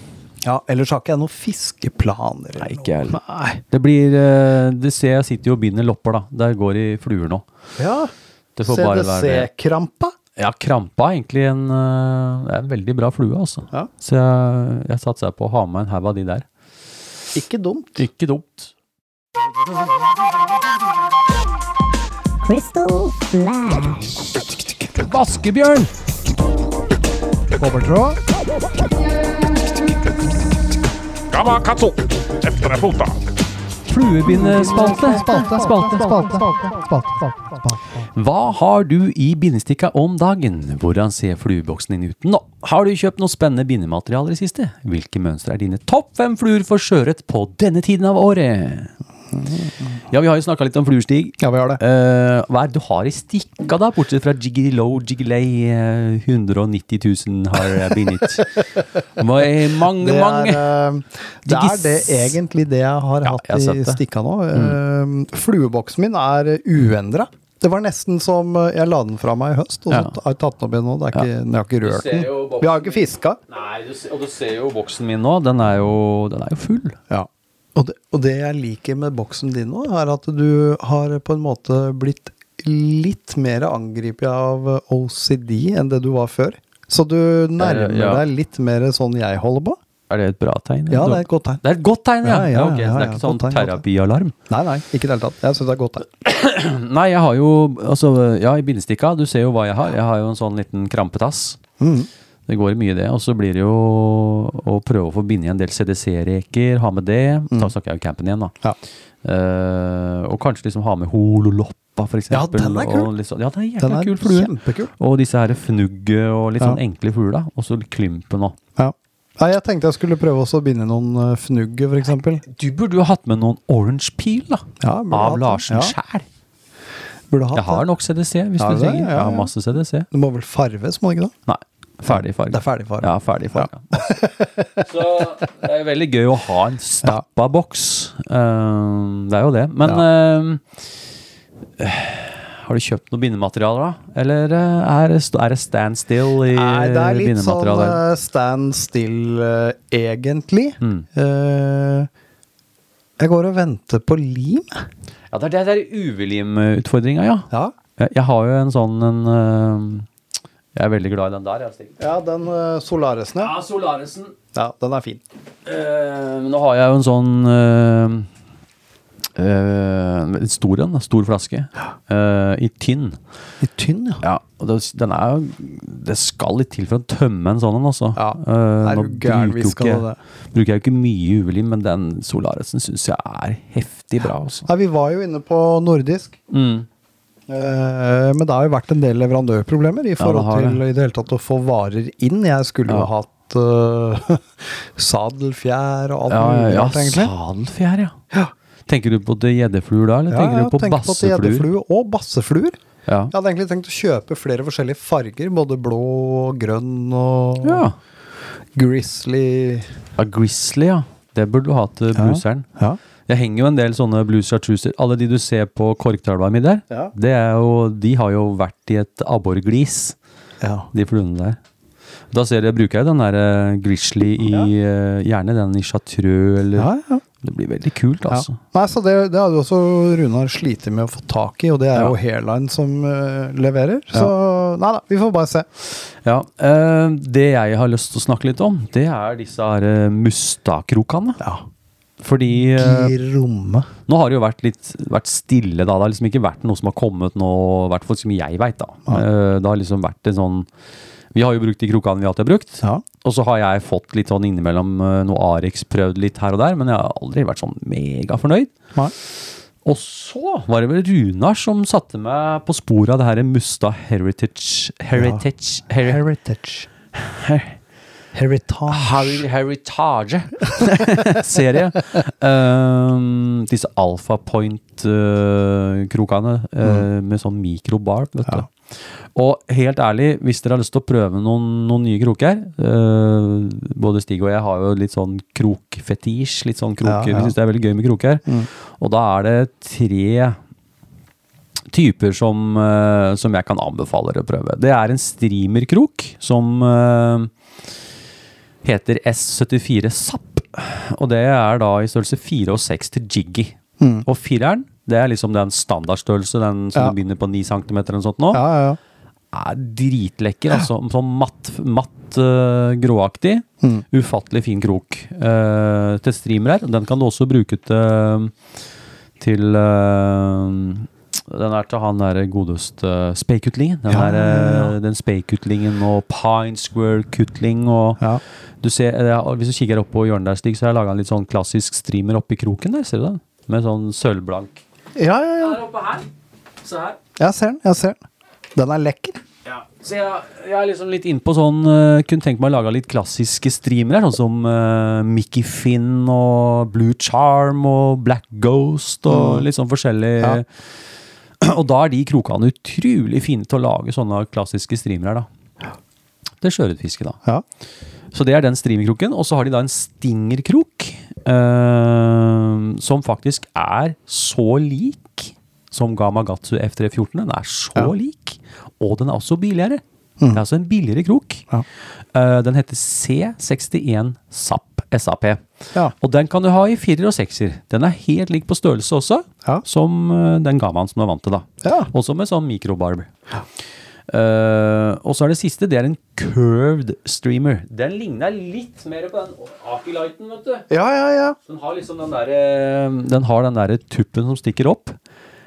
Speaker 5: Ja, ellers har ikke jeg noen fiskeplaner. eller
Speaker 1: Nei, ikke jeg
Speaker 5: noe.
Speaker 1: heller.
Speaker 5: Nei.
Speaker 1: Det blir øh, Det ser jeg sitter jo og binder lopper, da. Der går det i fluer nå.
Speaker 5: Ja.
Speaker 1: Det får bare være
Speaker 5: CDC-krampa.
Speaker 1: Ja, krampa er egentlig en, øh, det er en veldig bra flue, altså.
Speaker 5: Ja.
Speaker 1: Så jeg, jeg satser på å ha med en haug av de der.
Speaker 5: Ikke dumt.
Speaker 1: Ikke dumt.
Speaker 6: Crystal Flash.
Speaker 1: Vaskebjørn!
Speaker 5: Kobbertråd.
Speaker 3: Gamakatsu! Efter er fota.
Speaker 1: Fluebindespalte. Spalte, spalte, spalte. Hva har du i bindestikka om dagen? Hvordan ser flueboksen din ut nå? Har du kjøpt noe spennende bindematerialer i siste? Hvilke mønstre er dine topp fem fluer for sjøørret på denne tiden av året? Ja, vi har jo snakka litt om fluestig.
Speaker 5: Ja, vi har det.
Speaker 1: Eh, hva er det du har i stikka, da? Bortsett fra Jiggy Low, Jiggy Lay, eh, 190 000 har jeg bindet. Mange, mange.
Speaker 5: Det er,
Speaker 1: mange.
Speaker 5: eh, det er det
Speaker 1: Diggis.
Speaker 5: egentlig det jeg har
Speaker 1: Ja, jeg har
Speaker 5: hatt
Speaker 1: sett
Speaker 5: i
Speaker 1: det. Mm.
Speaker 5: stikka nå. Eh, Flueboksen min er uendra. Det var nesten som eh, jeg la den fra meg i høst, og så
Speaker 1: Ja.
Speaker 5: har jeg tatt den opp igjen nå. Det er ikke, Jeg har ikke rørt
Speaker 1: ser
Speaker 5: den.
Speaker 1: jo boksen.
Speaker 5: Vi har jo ikke fiska.
Speaker 1: Nei, du, se- og du ser jo boksen min nå. Den er jo, den er jo full.
Speaker 5: Ja. Og, det, og det jeg liker med boksen din nå, er at du har på en måte blitt litt mer angrepet av eh, OCD enn det du var før. Så du nærmer
Speaker 1: Eh, ja.
Speaker 5: deg litt mer sånn jeg holder på.
Speaker 1: Er det et bra tegn?
Speaker 5: Ja, det er et godt tegn.
Speaker 1: Det er et godt tegn, ja.
Speaker 5: Ja, ja,
Speaker 1: Ja, ok, så
Speaker 5: ja,
Speaker 1: det
Speaker 5: ja,
Speaker 1: er ikke
Speaker 5: godt
Speaker 1: sånn
Speaker 5: tegn, godt tegn.
Speaker 1: terapialarm.
Speaker 5: Nei, nei, ikke i det hele tatt. Jeg syns det er godt. Jeg.
Speaker 1: Nei, jeg har jo altså, Ja, i bindestikka, du ser jo hva jeg har. Jeg har jo en sånn liten krampetass.
Speaker 5: Mm.
Speaker 1: Det går mye i det. Og så blir det jo å prøve å få binde i en del CDC-reker, ha med det. Da
Speaker 5: Mm.
Speaker 1: snakker jeg jo campen igjen, da.
Speaker 5: Ja.
Speaker 1: Eh, og kanskje liksom ha med hololoppa, for
Speaker 5: Ja,
Speaker 1: eksempel.
Speaker 5: den er kul.
Speaker 1: og litt sånn- ja, det er en
Speaker 5: Den
Speaker 1: jækla
Speaker 5: er
Speaker 1: kul flue.
Speaker 5: kjempekul.
Speaker 1: Og disse her fnugget og litt
Speaker 5: Ja.
Speaker 1: sånn enkle fugler. da. Og så klympen òg.
Speaker 5: Ja. Nei, jeg tenkte jeg skulle prøve også å binde noen eh, fnugge, for eksempel.
Speaker 1: Du burde jo hatt med noen orange peel, da.
Speaker 5: Ja, burde hatt
Speaker 1: av
Speaker 5: det.
Speaker 1: Larsen
Speaker 5: Ja.
Speaker 1: sjæl.
Speaker 5: Burde hatt
Speaker 1: Jeg har nok CDC, hvis
Speaker 5: Har
Speaker 1: du
Speaker 5: du det?
Speaker 1: trenger.
Speaker 5: Ja,
Speaker 1: Jeg har
Speaker 5: ja.
Speaker 1: masse CDC.
Speaker 5: det. Du må vel farves, må det ikke det?
Speaker 1: Nei. Ferdig farge.
Speaker 5: Det er ferdig farge.
Speaker 1: Ja, ferdig farge. Så det er jo veldig gøy å ha en stappa boks. Ehm, det er jo det. Men ehm, øh, har du kjøpt noe bindematerialer, da? Eller eh, er, det st- er det standstill i
Speaker 5: Nei, det er litt sånn
Speaker 1: bindematerialer?
Speaker 5: eh, stand still, eh, egentlig.
Speaker 1: Mm.
Speaker 5: Eh, jeg går og venter på lim.
Speaker 1: Ja, det er det der UV-lim-utfordringa, ja.
Speaker 5: Ja,
Speaker 1: Jeg, jeg har jo en sånn en ehm, Jeg er veldig glad i den der. Jeg, Stig.
Speaker 5: ja den uh, Solaresen, ja.
Speaker 1: Ja, Solaresen.
Speaker 5: ja. Den er fin.
Speaker 1: Eh, men nå har jeg jo en sånn eh, eh, en stor en, da, stor flaske, eh, i tynn.
Speaker 5: Litt tynn, ja.
Speaker 1: Ja, og det, den er jo, det skal litt til for å tømme en sånn en, altså.
Speaker 5: Ja,
Speaker 1: Eh,
Speaker 5: er
Speaker 1: nå
Speaker 5: du gæren, vi
Speaker 1: bruker jo
Speaker 5: skal
Speaker 1: ikke-
Speaker 5: det.
Speaker 1: Bruker jeg jo ikke mye ulim, men den Solaresen syns jeg er heftig bra, altså.
Speaker 5: Nei, vi var jo inne på nordisk.
Speaker 1: Mm.
Speaker 5: Eh, Men det har jo vært en del leverandørproblemer i forhold
Speaker 1: har det.
Speaker 5: til i det hele tatt å få varer inn. Jeg skulle jo hatt eh, sadelfjær og alt
Speaker 1: Ja,
Speaker 5: mulig
Speaker 1: ja,
Speaker 5: rart,
Speaker 1: ja
Speaker 5: egentlig.
Speaker 1: sadelfjær, ja.
Speaker 5: Ja.
Speaker 1: Tenker du på de gjeddefluer da, eller
Speaker 5: Ja,
Speaker 1: tenker du
Speaker 5: jeg
Speaker 1: på
Speaker 5: tenker på at
Speaker 1: bassefluer?
Speaker 5: gjeddeflue og bassefluer.
Speaker 1: Ja.
Speaker 5: Jeg hadde egentlig tenkt å kjøpe flere forskjellige farger, både blå og grønn og
Speaker 1: Ja.
Speaker 5: grizzly.
Speaker 1: ja, Grizzly, ja. Det burde du ha til blueseren.
Speaker 5: Ja.
Speaker 1: Jeg henger jo en del sånne blues chartruser. Alle de du ser på Korkdalva mi der,
Speaker 5: Ja.
Speaker 1: det er jo, de har jo vært i et abborglis, de fluene der. Da ser jeg, bruker jeg den der eh, grizzly i eh, Gjerne den i chartreux eller
Speaker 5: Ja, ja.
Speaker 1: Det blir veldig kult, altså.
Speaker 5: Nei, så det, det hadde jo også Runar slitt med å få tak i, og det er jo Hairline som eh, leverer. Så nei da, vi får bare se.
Speaker 1: Ja. eh, det jeg har lyst til å snakke litt om, det er disse her eh, mustakrokene.
Speaker 5: Ja.
Speaker 1: Fordi eh,
Speaker 5: I rommet.
Speaker 1: Nå har det jo vært litt vært stille, da. Det har liksom ikke vært noe som har kommet nå, i hvert fall som jeg veit, da. Eh, Det har liksom vært en sånn Vi har jo brukt de krokene vi alltid har brukt.
Speaker 5: Ja.
Speaker 1: Og så har jeg fått litt sånn innimellom eh, noe Arex prøvd litt her og der, men jeg har aldri vært sånn megafornøyd.
Speaker 5: Nei.
Speaker 1: Og så var det vel Runar som satte meg på sporet av det her Musta Heritage Heritage Heri-
Speaker 5: Heritage. Heritage.
Speaker 1: Harry Heritage-serie. Ehm, disse Alpha Point-krokene
Speaker 5: Mm.
Speaker 1: med sånn mikrobarb, vet du. Og helt ærlig, hvis dere har lyst til å prøve noen, noen nye kroker eh, Både Stig og jeg har jo litt sånn krokfetisj. Litt sånn kroker.
Speaker 5: Ja, ja. Mm.
Speaker 1: Vi syns det er veldig gøy med kroker. Og da er det tre typer som, eh, som jeg kan anbefale dere å prøve. Det er en streamerkrok som eh, heter S74 SAP. Og det er da i størrelse 4 og 6 til Jiggy. Og fireren, det er liksom den standardstørrelse, den som
Speaker 5: Mm. Ja.
Speaker 1: du begynner på 9 cm eller noe sånt nå.
Speaker 5: Ja, ja, ja.
Speaker 1: Er dritlekker, altså. Sånn matt, matt eh, gråaktig.
Speaker 5: Mm.
Speaker 1: Ufattelig fin krok. eh, til streamer her. Den kan du også bruke til til eh, den er til han der godeste eh, speikutlingen. Den,
Speaker 5: Ja,
Speaker 1: der, eh, den speikutlingen og pine square-kutling og
Speaker 5: Ja.
Speaker 1: du ser, eh, og Hvis du kikker opp på hjørnet der, Stig, så har jeg laga en litt sånn klassisk streamer oppi kroken der. Ser du den? Med sånn sølvblank.
Speaker 5: Ja, ja, ja.
Speaker 1: Der oppe her. Se her.
Speaker 5: Jeg ser den. jeg ser den. Den er lekker.
Speaker 1: Ja. Så jeg, jeg er liksom litt innpå sånn eh, Kunne tenkt meg å lage litt klassiske streamere, sånn som eh, Mickey Finn og Blue Charm og Black Ghost og litt sånn forskjellig.
Speaker 5: Ja.
Speaker 1: Og da er de krokene utrolig fine til å lage sånne klassiske streamere, da. Til sjøørretfiske, da.
Speaker 5: Ja.
Speaker 1: Så det er den streamerkroken. Og så har de da en stingerkrok eh, som faktisk er så lik som Gamagatsu F314. Den er så
Speaker 5: Ja. Mm.
Speaker 1: lik, og den er også billigere. Det er altså en billigere krok.
Speaker 5: Ja.
Speaker 1: Eh, den heter C61 SAP. SAP.
Speaker 5: Ja.
Speaker 1: Og den kan du ha i firer og sekser. Den er helt lik på størrelse også,
Speaker 5: Ja.
Speaker 1: som eh, den gamaen som du er vant til, da.
Speaker 5: Ja.
Speaker 1: Også med sånn mikrobarb. Eh, og så er det siste, det er en curved streamer. Den ligner litt mer på den Aki-lighten, vet du.
Speaker 5: Ja, ja, ja.
Speaker 1: Den har liksom den der, eh, Den har den derre tuppen som stikker opp.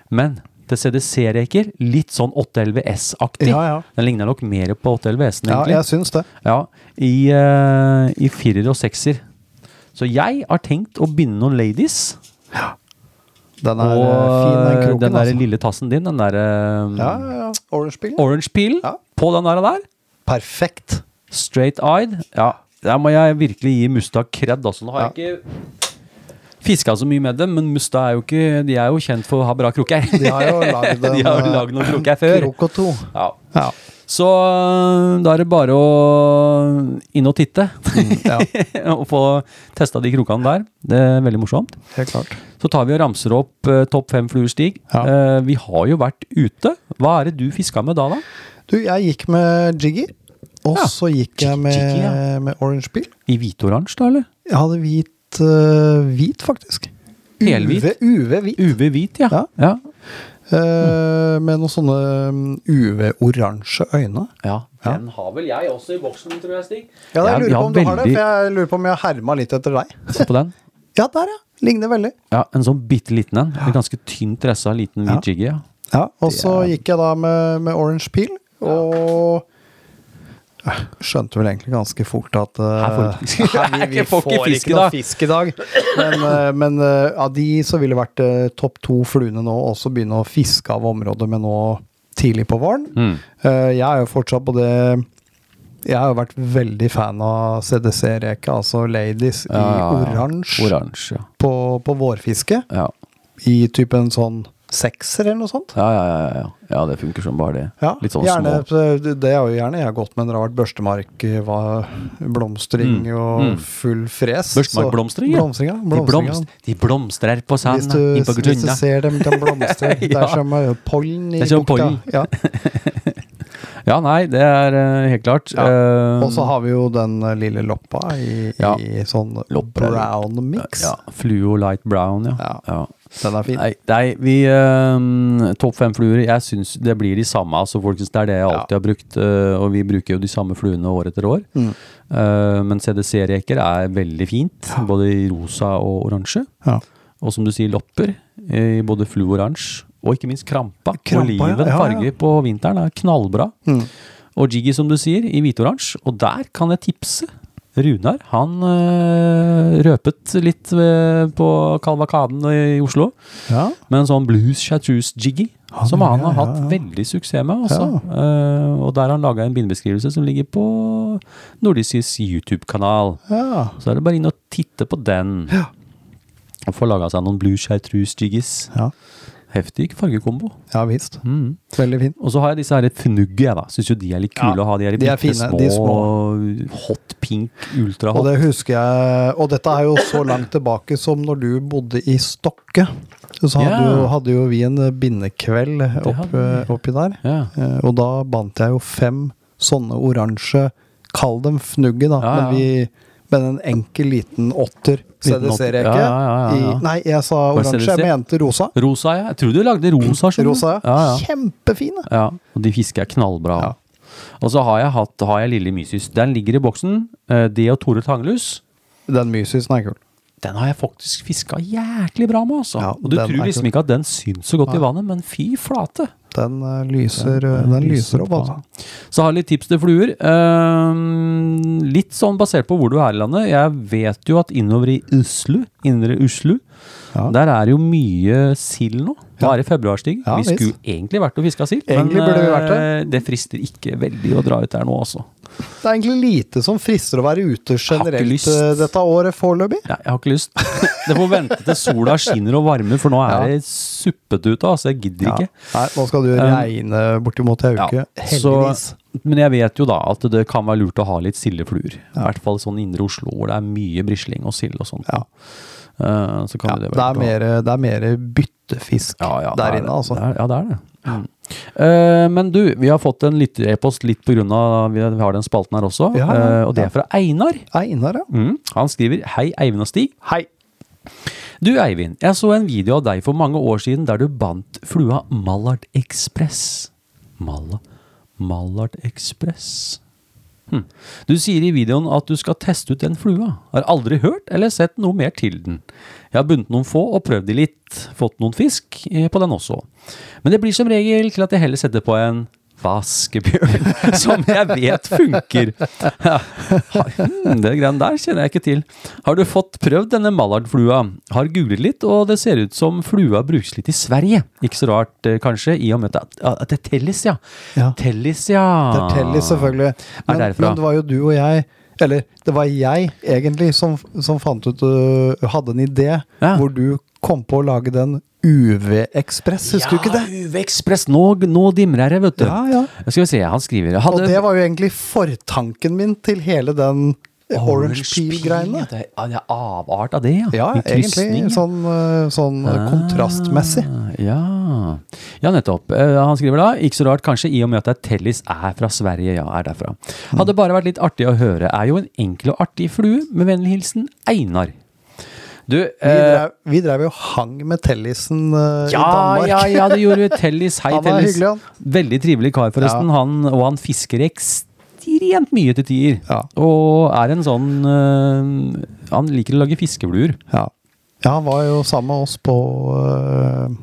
Speaker 1: Men til CDC-reker, litt sånn 811 S-aktig.
Speaker 5: Ja, ja.
Speaker 1: Den ligner nok mer på 811 S-en,
Speaker 5: ja
Speaker 1: egentlig.
Speaker 5: jeg syns det.
Speaker 1: Ja, i, eh, i firer og sekser. Så jeg har tenkt å binde noen ladies.
Speaker 5: Den er
Speaker 1: Og
Speaker 5: eh, fin, den kroken.
Speaker 1: den der
Speaker 5: altså.
Speaker 1: lille tassen din, den der eh,
Speaker 5: Ja, ja, ja. Orange Peel.
Speaker 1: orange peel
Speaker 5: Ja.
Speaker 1: på den der, der.
Speaker 5: Perfekt.
Speaker 1: Straight eyed. Ja, der må jeg virkelig gi Musta kred. Altså. Nå har jeg ikke fiska så mye med dem, men Musta er jo ikke De er jo kjent for å ha bra kroker.
Speaker 5: De har jo lagd en
Speaker 1: De har jo
Speaker 5: eh,
Speaker 1: lagd noen kroker før.
Speaker 5: Krok og to.
Speaker 1: Ja.
Speaker 5: Ja.
Speaker 1: Så øh, da er det bare å inn og titte.
Speaker 5: Mm, ja.
Speaker 1: og få testa de krokene der. Det er veldig morsomt.
Speaker 5: Helt klart.
Speaker 1: Så tar vi og ramser opp eh, topp fem fluestig.
Speaker 5: Ja.
Speaker 1: Eh, vi har jo vært ute. Hva er det du fiska med da, da?
Speaker 5: Du, jeg gikk med Jiggy, og
Speaker 1: Ja.
Speaker 5: så gikk jeg med,
Speaker 1: Jiggy, ja.
Speaker 5: med Orange Peel.
Speaker 1: I hvitoransje, da, eller?
Speaker 5: Jeg hadde hvit, eh, hvit faktisk.
Speaker 1: Helhvit?
Speaker 5: UV-hvit.
Speaker 1: UV-hvit, ja.
Speaker 5: Ja.
Speaker 1: ja.
Speaker 5: Eh, med noen sånne mm, UV-oransje øyne.
Speaker 1: Ja, den har vel jeg også i boksen, tror jeg, Stig.
Speaker 5: Ja, jeg
Speaker 1: vi
Speaker 5: lurer på om du har det,
Speaker 1: veldig-
Speaker 5: for jeg lurer på om jeg herma litt etter deg.
Speaker 1: Se på den.
Speaker 5: Ja, der, ja. Ligner veldig.
Speaker 1: Ja, En sånn bitte liten en. En ganske tynt dressa liten hvit jiggy. Ja.
Speaker 5: Ja, og så gikk jeg da med, med orange peel, og Eh, skjønte vel egentlig ganske fort at eh,
Speaker 1: Her får du fisk.
Speaker 5: Nei, vi, vi
Speaker 1: Jeg får
Speaker 5: får
Speaker 1: ikke
Speaker 5: ikke,
Speaker 1: fisk i dag.
Speaker 5: noe fisk i dag. Men, eh, men eh, av de så ville det vært eh, topp to fluene nå, og også begynne å fiske av området med nå tidlig på våren.
Speaker 1: Hmm.
Speaker 5: Eh, jeg er jo fortsatt på det Jeg har jo vært veldig fan av CDC-reka, altså Ladies
Speaker 1: Ja, ja,
Speaker 5: i
Speaker 1: ja.
Speaker 5: oransje
Speaker 1: Oransje, ja.
Speaker 5: på, på vårfiske.
Speaker 1: ja.
Speaker 5: i typen sånn sekser eller noe sånt.
Speaker 1: Ja, ja, ja, ja. ja det funker som bare det.
Speaker 5: Ja,
Speaker 1: Litt sånn
Speaker 5: gjerne,
Speaker 1: små.
Speaker 5: Det er jo gjerne jeg har gått med når det har vært børstemark, var blomstring
Speaker 1: Mm.
Speaker 5: og full fres.
Speaker 1: Børstemarkblomstring, ja.
Speaker 5: ja. Blomstringa,
Speaker 1: De,
Speaker 5: blomstringa.
Speaker 1: blomst, de blomstrer på
Speaker 5: Hvis
Speaker 1: sanda
Speaker 5: du,
Speaker 1: innpå
Speaker 5: hvis du
Speaker 1: grunna.
Speaker 5: ser dem, de blomstrer. Det
Speaker 1: Ja.
Speaker 5: er som eh, pollen i
Speaker 1: Det er som
Speaker 5: bukta.
Speaker 1: pollen.
Speaker 5: Ja.
Speaker 1: Ja, nei, det er eh, helt klart.
Speaker 5: Ja.
Speaker 1: Eh,
Speaker 5: Og så har vi jo den eh, lille loppa i,
Speaker 1: Ja.
Speaker 5: i sånn
Speaker 1: Lopper er-
Speaker 5: brown mix.
Speaker 1: Ja, Fluo light brown, ja.
Speaker 5: Ja.
Speaker 1: ja.
Speaker 5: Den er fin.
Speaker 1: Nei, nei, vi eh, Topp fem fluer. Jeg syns det blir de samme. Altså, folkens, det er det jeg
Speaker 5: Ja.
Speaker 1: alltid har brukt. eh, og vi bruker jo de samme fluene år etter år.
Speaker 5: Mm.
Speaker 1: Eh, men CDC-reker er veldig fint. Både i rosa og oransje.
Speaker 5: Ja.
Speaker 1: Og som du sier, lopper eh, i både fluoransje og ikke minst krampa.
Speaker 5: Krampa, ja.
Speaker 1: Oliven
Speaker 5: Ja, ja.
Speaker 1: farge på vinteren er knallbra.
Speaker 5: Mm.
Speaker 1: Og Jiggy, som du sier, i hvitoransje. Og der kan jeg tipse. Runar han øh, røpet litt øh, på Kalvakaden i Oslo.
Speaker 5: Ja.
Speaker 1: Med en sånn blues chartreuse jiggy,
Speaker 5: Han
Speaker 1: som han
Speaker 5: gjorde
Speaker 1: har
Speaker 5: det,
Speaker 1: hatt
Speaker 5: ja, ja.
Speaker 1: veldig suksess med. Også. Eh, og der har han laga en bindebeskrivelse som ligger på Nordicis YouTube-kanal.
Speaker 5: ja.
Speaker 1: Så er det bare inn og titte på den.
Speaker 5: Ja.
Speaker 1: Og få laga seg noen blue chartreuse jiggis.
Speaker 5: Ja.
Speaker 1: Heftig fargekombo.
Speaker 5: Ja visst. Veldig fin.
Speaker 1: Og så har jeg disse her fnugge, jeg da. Syns jo de er litt kule
Speaker 5: Ja,
Speaker 1: å ha. De er,
Speaker 5: de er
Speaker 1: bitte
Speaker 5: fine, de
Speaker 1: Hot pink,
Speaker 5: Og
Speaker 1: ultrahot.
Speaker 5: det husker jeg Og dette er jo så langt tilbake som når du bodde i Stokke. Så hadde,
Speaker 1: Ja.
Speaker 5: jo, hadde jo vi en eh, bindekveld
Speaker 1: hadde
Speaker 5: opp, eh, oppi der.
Speaker 1: Ja.
Speaker 5: Eh, Og da bandt jeg jo fem sånne oransje Kall dem fnugge, da.
Speaker 1: Ja, ja.
Speaker 5: Men vi men en enkel, liten åtter
Speaker 1: Liten åtter.
Speaker 5: CDC-reke.
Speaker 1: Ja, ja, ja, ja.
Speaker 5: i- Nei, jeg sa
Speaker 1: Var det
Speaker 5: oransje. Jeg
Speaker 1: CDC?
Speaker 5: mente rosa.
Speaker 1: Rosa, ja. Jeg tror du lagde rosa. skjønner du.
Speaker 5: Rosa, ja.
Speaker 1: ja, ja.
Speaker 5: Kjempefine!
Speaker 1: ja. Og de fisker jeg knallbra. av. Og så har jeg hatt har jeg Lille Mysis. Den ligger i boksen. Eh, Det og Tore Tangelus.
Speaker 5: Den mysisen er kul.
Speaker 1: Den har jeg faktisk fiska jæklig bra med, altså.
Speaker 5: Ja,
Speaker 1: og du
Speaker 5: den er
Speaker 1: tror liksom
Speaker 5: kul.
Speaker 1: ikke at den syns så godt i vannet, men fy flate.
Speaker 5: Den eh, lyser, eh, den lyser opp, altså.
Speaker 1: Så har jeg litt tips til fluer. Ehm, litt sånn basert på hvor du er i landet. Jeg vet jo at innover i Uslu, indre Uslu,
Speaker 5: Ja.
Speaker 1: der er jo mye sild nå. Nå
Speaker 5: Ja.
Speaker 1: er det februarstig.
Speaker 5: Ja,
Speaker 1: vi
Speaker 5: visst.
Speaker 1: skulle egentlig vært og fiska sild,
Speaker 5: Egentlig burde vi vært
Speaker 1: eh, det frister ikke veldig å dra ut der nå, altså.
Speaker 5: Det er egentlig lite som frister å være ute
Speaker 1: ikke
Speaker 5: generelt
Speaker 1: lyst.
Speaker 5: eh, dette året foreløpig.
Speaker 1: Nei, jeg har ikke lyst. Det får vente til sola skinner og varmer, for nå er
Speaker 5: Ja.
Speaker 1: det suppete ute, altså. Jeg gidder
Speaker 5: Ja.
Speaker 1: ikke. Um,
Speaker 5: Nei, nå skal det jo regne bortimot ei uke.
Speaker 1: Så,
Speaker 5: Heldigvis.
Speaker 1: men jeg vet jo da at det kan være lurt å ha litt sildefluer. I hvert fall sånn indre Oslo hvor det er mye brisling og sild og sånt.
Speaker 5: Ja.
Speaker 1: Eh, så kan
Speaker 5: Ja,
Speaker 1: jo
Speaker 5: det,
Speaker 1: det være
Speaker 5: er mer, det er mer byttefisk
Speaker 1: ja, ja, det
Speaker 5: der
Speaker 1: er det.
Speaker 5: inne, altså.
Speaker 1: Det er, ja, det er det. Mm. Eh, men du, vi har fått en lytterepost litt pga. vi vi har den spalten her også.
Speaker 5: Ja, ja,
Speaker 1: eh, og det er fra Einar.
Speaker 5: Einar, ja.
Speaker 1: Mm. Han skriver Hei, Eivind og Stig.
Speaker 5: Hei.
Speaker 1: Du Eivind, jeg så en video av deg for mange år siden der du bandt flua Mallard Express. Malla, Mallard Express. Hm. Du sier i videoen at du skal teste ut den flua. Har aldri hørt eller sett noe mer til den. Jeg har bundet noen få og prøvd de litt. Fått noen fisk eh, på den også. Men det blir som regel til at jeg heller setter på en vaskebjørn, som jeg vet funker. Ja. Hmm, Det greiene der kjenner jeg ikke til. Har du fått prøvd denne Mallard-flua? Har googlet litt, og det ser ut som flua brukes litt i Sverige. Ikke så rart, eh, kanskje, i og med at at det er Tellis, ja.
Speaker 5: Ja.
Speaker 1: Tellis, ja.
Speaker 5: Det er Tellis, selvfølgelig. Men,
Speaker 1: Ah. derfra.
Speaker 5: men det var jo du og jeg eller det var jeg egentlig som, som fant ut øh, Hadde en idé
Speaker 1: Ja.
Speaker 5: hvor du kom på å lage den UV-ekspress, husker du ikke det?
Speaker 1: Ja, UV Ekspress. Nå, nå dimrer det, vet du.
Speaker 5: Ja, ja.
Speaker 1: Skal vi se, han skriver
Speaker 5: Og
Speaker 1: hadde,
Speaker 5: det var jo egentlig fortanken min til hele den eh, Orange Peel-greiene.
Speaker 1: ja, Det er, ja, det er avart av det, ja.
Speaker 5: Ja,
Speaker 1: I krysning,
Speaker 5: egentlig.
Speaker 1: ja.
Speaker 5: Sånn, eh, sånn eh, kontrastmessig.
Speaker 1: Ah, Ja. ja, nettopp. Eh, Han skriver da Ikke så rart kanskje i og med at det er Tellis er fra Sverige. Ja, er derfra.
Speaker 5: Mm.
Speaker 1: Hadde bare vært litt artig å høre. Er jo en enkel og artig flue. Med vennlig hilsen Einar. Du
Speaker 5: Vi
Speaker 1: eh,
Speaker 5: drev, vi drev jo hang med Tellisen eh, i
Speaker 1: ja,
Speaker 5: Danmark.
Speaker 1: ja, ja, det gjorde vi. Tellis. Hei,
Speaker 5: Han var
Speaker 1: Tellis.
Speaker 5: hyggelig,
Speaker 1: Veldig trivelig kar, forresten. Han, og han fisker ekstremt mye til tider.
Speaker 5: Ja.
Speaker 1: Og er en sånn øh, Han liker å lage fiskefluer.
Speaker 5: Ja. Ja, han var jo sammen med oss på eh,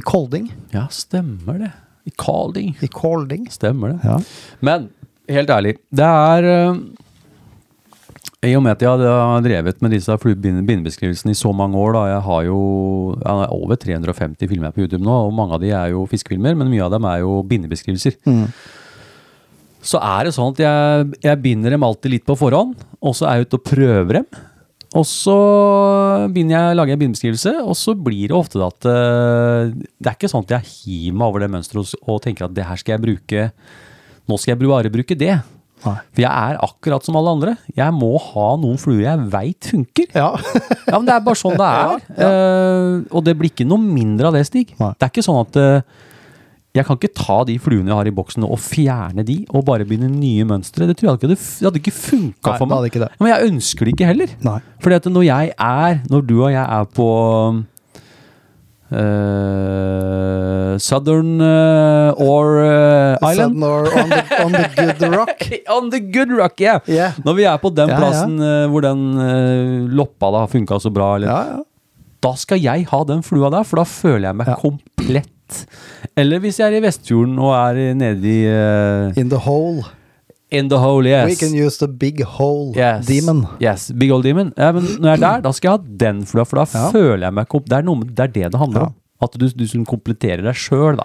Speaker 5: I Kolding.
Speaker 1: Ja, stemmer det. I Calding.
Speaker 5: I Kolding.
Speaker 1: Stemmer det.
Speaker 5: Ja.
Speaker 1: Men helt ærlig, det er eh, I og med at jeg har drevet med disse flu- bind- bindebeskrivelsene i så mange år, da, jeg har jo jeg har over 350 filmer på YouTube nå, og mange av de er jo fiskefilmer, men mye av dem er jo bindebeskrivelser. Så er det sånn at jeg, jeg binder dem alltid litt på forhånd, og så er jeg ute og prøver dem. Og så begynner jeg, lager jeg bindebeskrivelse, og så blir det ofte da at eh, Det er ikke sånn at jeg hiver meg over det mønsteret og s- og tenker at det her skal jeg bruke Nå skal jeg bare bruke det.
Speaker 5: Nei.
Speaker 1: For jeg er akkurat som alle andre. Jeg må ha noen fluer jeg veit funker.
Speaker 5: Ja.
Speaker 1: Ja, men Det er bare sånn det er. Eh, og det blir ikke noe mindre av det, Stig.
Speaker 5: Nei.
Speaker 1: Det er ikke sånn at eh, jeg kan ikke ta de fluene jeg har i boksen og fjerne de, og bare begynne nye mønstre. Det tror jeg ikke hadde, f- det hadde ikke funka
Speaker 5: Nei,
Speaker 1: for
Speaker 5: det
Speaker 1: meg.
Speaker 5: hadde ikke det.
Speaker 1: Men jeg ønsker det ikke heller.
Speaker 5: Nei.
Speaker 1: Fordi at når jeg er, når du og jeg er på eh, Southern eh, or eh, Island
Speaker 5: Sudden or on the, on the good rock.
Speaker 1: On the good rock, yeah.
Speaker 5: Yeah.
Speaker 1: Når vi er på den
Speaker 5: Ja, ja.
Speaker 1: plassen eh, hvor den eh, loppa da har funka så bra, eller,
Speaker 5: Ja, ja.
Speaker 1: da skal jeg ha den flua der, for da føler jeg meg
Speaker 5: Ja.
Speaker 1: komplett. Eller hvis jeg er i Vestfjorden og er i- nede i eh,
Speaker 5: In the hole.
Speaker 1: In the hole,
Speaker 5: We
Speaker 1: yes.
Speaker 5: can use the big hole
Speaker 1: Yes.
Speaker 5: demon.
Speaker 1: Yes, Big old demon. Ja, men når jeg er der, da skal jeg ha den flua, for da
Speaker 5: Ja.
Speaker 1: føler jeg meg komp... Det er, noe, med- det er det det handler
Speaker 5: Ja.
Speaker 1: om. At du, du som kompletterer deg sjøl, da.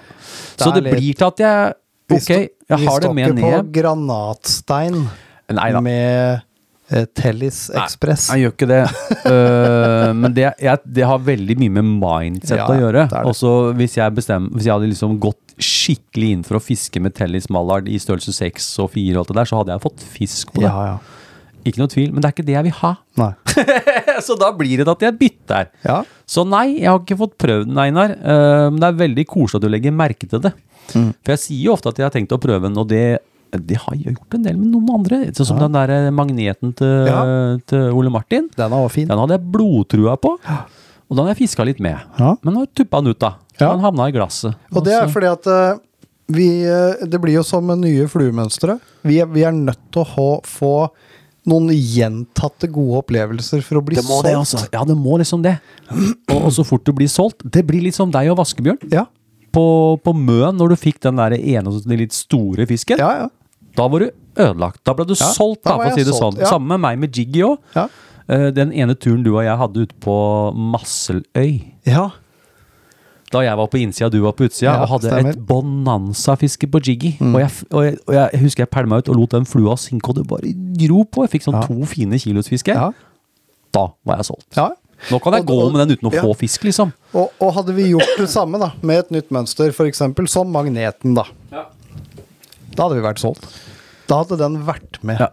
Speaker 1: Så
Speaker 5: Det er
Speaker 1: det,
Speaker 5: litt-
Speaker 1: blir til at jeg
Speaker 5: Vi
Speaker 1: Ok,
Speaker 5: sto-
Speaker 1: jeg har det med
Speaker 5: Vi står ikke
Speaker 1: ned.
Speaker 5: på granatstein
Speaker 1: Nei da.
Speaker 5: med eh, Tellis
Speaker 1: Nei,
Speaker 5: Ekspress.
Speaker 1: Jeg gjør ikke det. Øh, men det, jeg, det har veldig mye med mindset
Speaker 5: Ja,
Speaker 1: å gjøre.
Speaker 5: det er det.
Speaker 1: Også hvis jeg, bestem, hvis jeg hadde liksom gått skikkelig inn for å fiske med Tellis Mallard i størrelse 6 og 4 og alt det der, så hadde jeg fått fisk på det.
Speaker 5: Ja, ja.
Speaker 1: Ikke noe tvil, men det er ikke det jeg vil ha.
Speaker 5: Nei.
Speaker 1: så da blir det at jeg bytter.
Speaker 5: Ja.
Speaker 1: Så nei, jeg har ikke fått prøvd den, Einar. eh, Men det er veldig koselig at du legger merke til det.
Speaker 5: Mm.
Speaker 1: For jeg sier jo ofte at jeg har tenkt å prøve den, og det, det har jeg gjort en del med noen andre. Sånn som den der magneten til,
Speaker 5: Ja.
Speaker 1: til Ole Martin.
Speaker 5: Den var fin.
Speaker 1: Den hadde jeg blodtrua på, og den har jeg fiska litt med.
Speaker 5: Ja.
Speaker 1: Men nå tuppa den ut, da.
Speaker 5: Ja.
Speaker 1: Den havna i glasset. Altså,
Speaker 5: Og det er
Speaker 1: så-
Speaker 5: fordi at eh, vi, eh, det blir jo som med nye fluemønstre. Vi, er- vi er nødt til å ha, få noen gjentatte gode opplevelser for å bli
Speaker 1: det må det,
Speaker 5: solgt.
Speaker 1: altså. Ja, det må liksom det. Og, og så fort du blir solgt Det blir litt som deg og vaskebjørn
Speaker 5: Ja,
Speaker 1: på, på Møen, når du fikk den der ene og den litt store fisken.
Speaker 5: ja, ja.
Speaker 1: Da var du ødelagt. Da ble du
Speaker 5: Ja,
Speaker 1: solgt,
Speaker 5: da
Speaker 1: da,
Speaker 5: var
Speaker 1: for å si
Speaker 5: jeg
Speaker 1: det
Speaker 5: solgt,
Speaker 1: sånn.
Speaker 5: ja.
Speaker 1: Sammen med meg med Jiggy òg.
Speaker 5: Ja.
Speaker 1: Den ene turen du og jeg hadde ute på Masseløy.
Speaker 5: ja.
Speaker 1: Da jeg var på innsida, du var på utsida,
Speaker 5: Ja,
Speaker 1: og hadde
Speaker 5: stemmer. Mm.
Speaker 1: et bonanza-fiske på jiggy. Og, jeg, f- og, jeg, og jeg husker jeg pælma ut og lot den flua synke, og det bare gro på. Jeg fikk sånn
Speaker 5: Ja.
Speaker 1: to fine kilos fiske.
Speaker 5: Ja.
Speaker 1: Da var jeg solgt.
Speaker 5: ja.
Speaker 1: Nå kan jeg
Speaker 5: Og-
Speaker 1: gå
Speaker 5: og-
Speaker 1: med den uten å
Speaker 5: ja.
Speaker 1: få fisk, liksom.
Speaker 5: Og, og hadde vi gjort det samme da, med et nytt mønster, f.eks. som magneten, da. Da hadde vi vært solgt. Da hadde den vært med.
Speaker 1: Ja.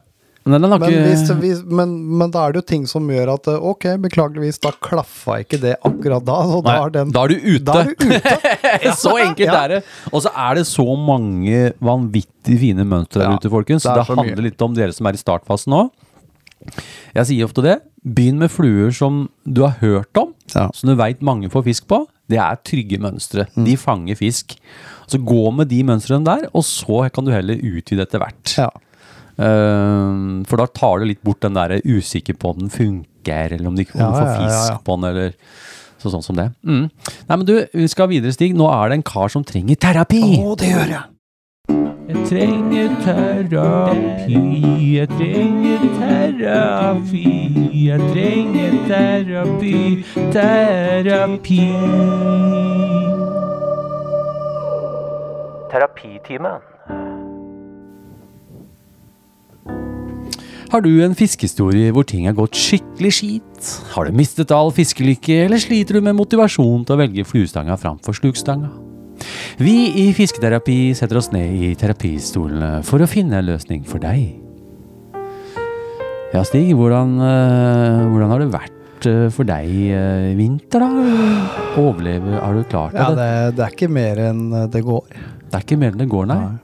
Speaker 1: Men den har
Speaker 5: Men,
Speaker 1: ikke
Speaker 5: hvis, vi, men, men da er det jo ting som gjør at eh, ok, beklageligvis, da klaffa ikke det akkurat da. Og da
Speaker 1: Nei,
Speaker 5: er den
Speaker 1: da er du ute.
Speaker 5: Da er du ute.
Speaker 1: Så enkelt
Speaker 5: Ja.
Speaker 1: er det. Og så er det så mange vanvittig fine mønstre der
Speaker 5: Ja,
Speaker 1: ute, folkens.
Speaker 5: det
Speaker 1: Det,
Speaker 5: er
Speaker 1: det
Speaker 5: så mye.
Speaker 1: handler litt om dere som er i startfasen nå. Jeg sier ofte det. Begynn med fluer som du har hørt om,
Speaker 5: Ja. Mm.
Speaker 1: som du veit mange får fisk på. Det er trygge mønstre. De fanger fisk. Så gå med de mønstrene der, og så kan du heller utvide etter hvert.
Speaker 5: Ja.
Speaker 1: Ehm, for da tar du litt bort den der usikker på om den funker, eller om du ikke
Speaker 5: Ja,
Speaker 1: om du får
Speaker 5: ja, ja,
Speaker 1: fisk
Speaker 5: ja.
Speaker 1: på den, eller så, sånn som det. Mm. Nei, men du, vi skal videre, Stig. Nå er det en kar som trenger terapi.
Speaker 5: det gjør jeg.
Speaker 1: Jeg trenger terapi, jeg trenger terapi, jeg trenger terapi, terapi.
Speaker 2: Terapitimen.
Speaker 1: Har du en fiskehistorie hvor ting har gått skikkelig skit? Har du mistet all fiskelykke, eller sliter du med motivasjon til å velge fluestanga framfor slukstanga? Vi i Fisketerapi setter oss ned i terapistolene for å finne en løsning for deg. Ja, Stig, hvordan, eh, hvordan har det vært eh, for deg eh, i vinter, da? Overleve, har du klart
Speaker 5: Ja,
Speaker 1: det?
Speaker 5: det, det er ikke mer enn det går.
Speaker 1: Det er ikke mer enn det går, nei.
Speaker 5: Jeg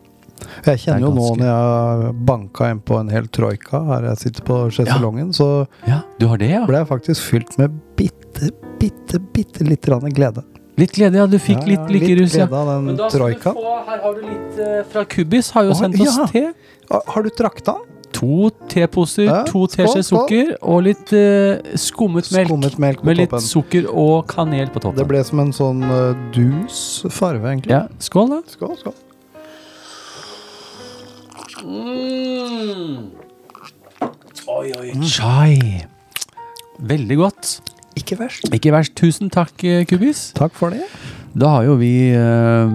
Speaker 1: Det er
Speaker 5: kjenner jo nå
Speaker 1: ganske-
Speaker 5: når jeg har banka inn på en hel troika her jeg sitter på sjeselongen, så
Speaker 1: Ja, Du har det, ja?
Speaker 5: ble jeg faktisk fylt med bitte, bitte, bitte litt grann glede.
Speaker 1: Litt glede, ja. Du fikk
Speaker 5: Ja, ja,
Speaker 1: litt lykkerus, ja.
Speaker 5: glede av den
Speaker 1: Men da skal du
Speaker 5: troika.
Speaker 1: få, her har du litt eh, fra Kubis, har jo
Speaker 5: Å,
Speaker 1: sendt oss
Speaker 5: ja.
Speaker 1: te.
Speaker 5: Har- Ah, Har du trakta?
Speaker 1: To teposer,
Speaker 5: Ja,
Speaker 1: to
Speaker 5: skål,
Speaker 1: teskjeer
Speaker 5: skål.
Speaker 1: sukker og litt eh, skummet melk.
Speaker 5: Skummet melk på
Speaker 1: med litt
Speaker 5: toppen.
Speaker 1: sukker og kanel på toppen.
Speaker 5: Det ble som en sånn eh, dus farve, egentlig.
Speaker 1: Ja, skål, da.
Speaker 5: Skål, skål.
Speaker 1: Oi, oi, chai. Veldig godt.
Speaker 5: Ikke verst.
Speaker 1: Ikke verst. Tusen takk, eh, Kubis.
Speaker 5: Takk for det.
Speaker 1: Da har jo vi eh,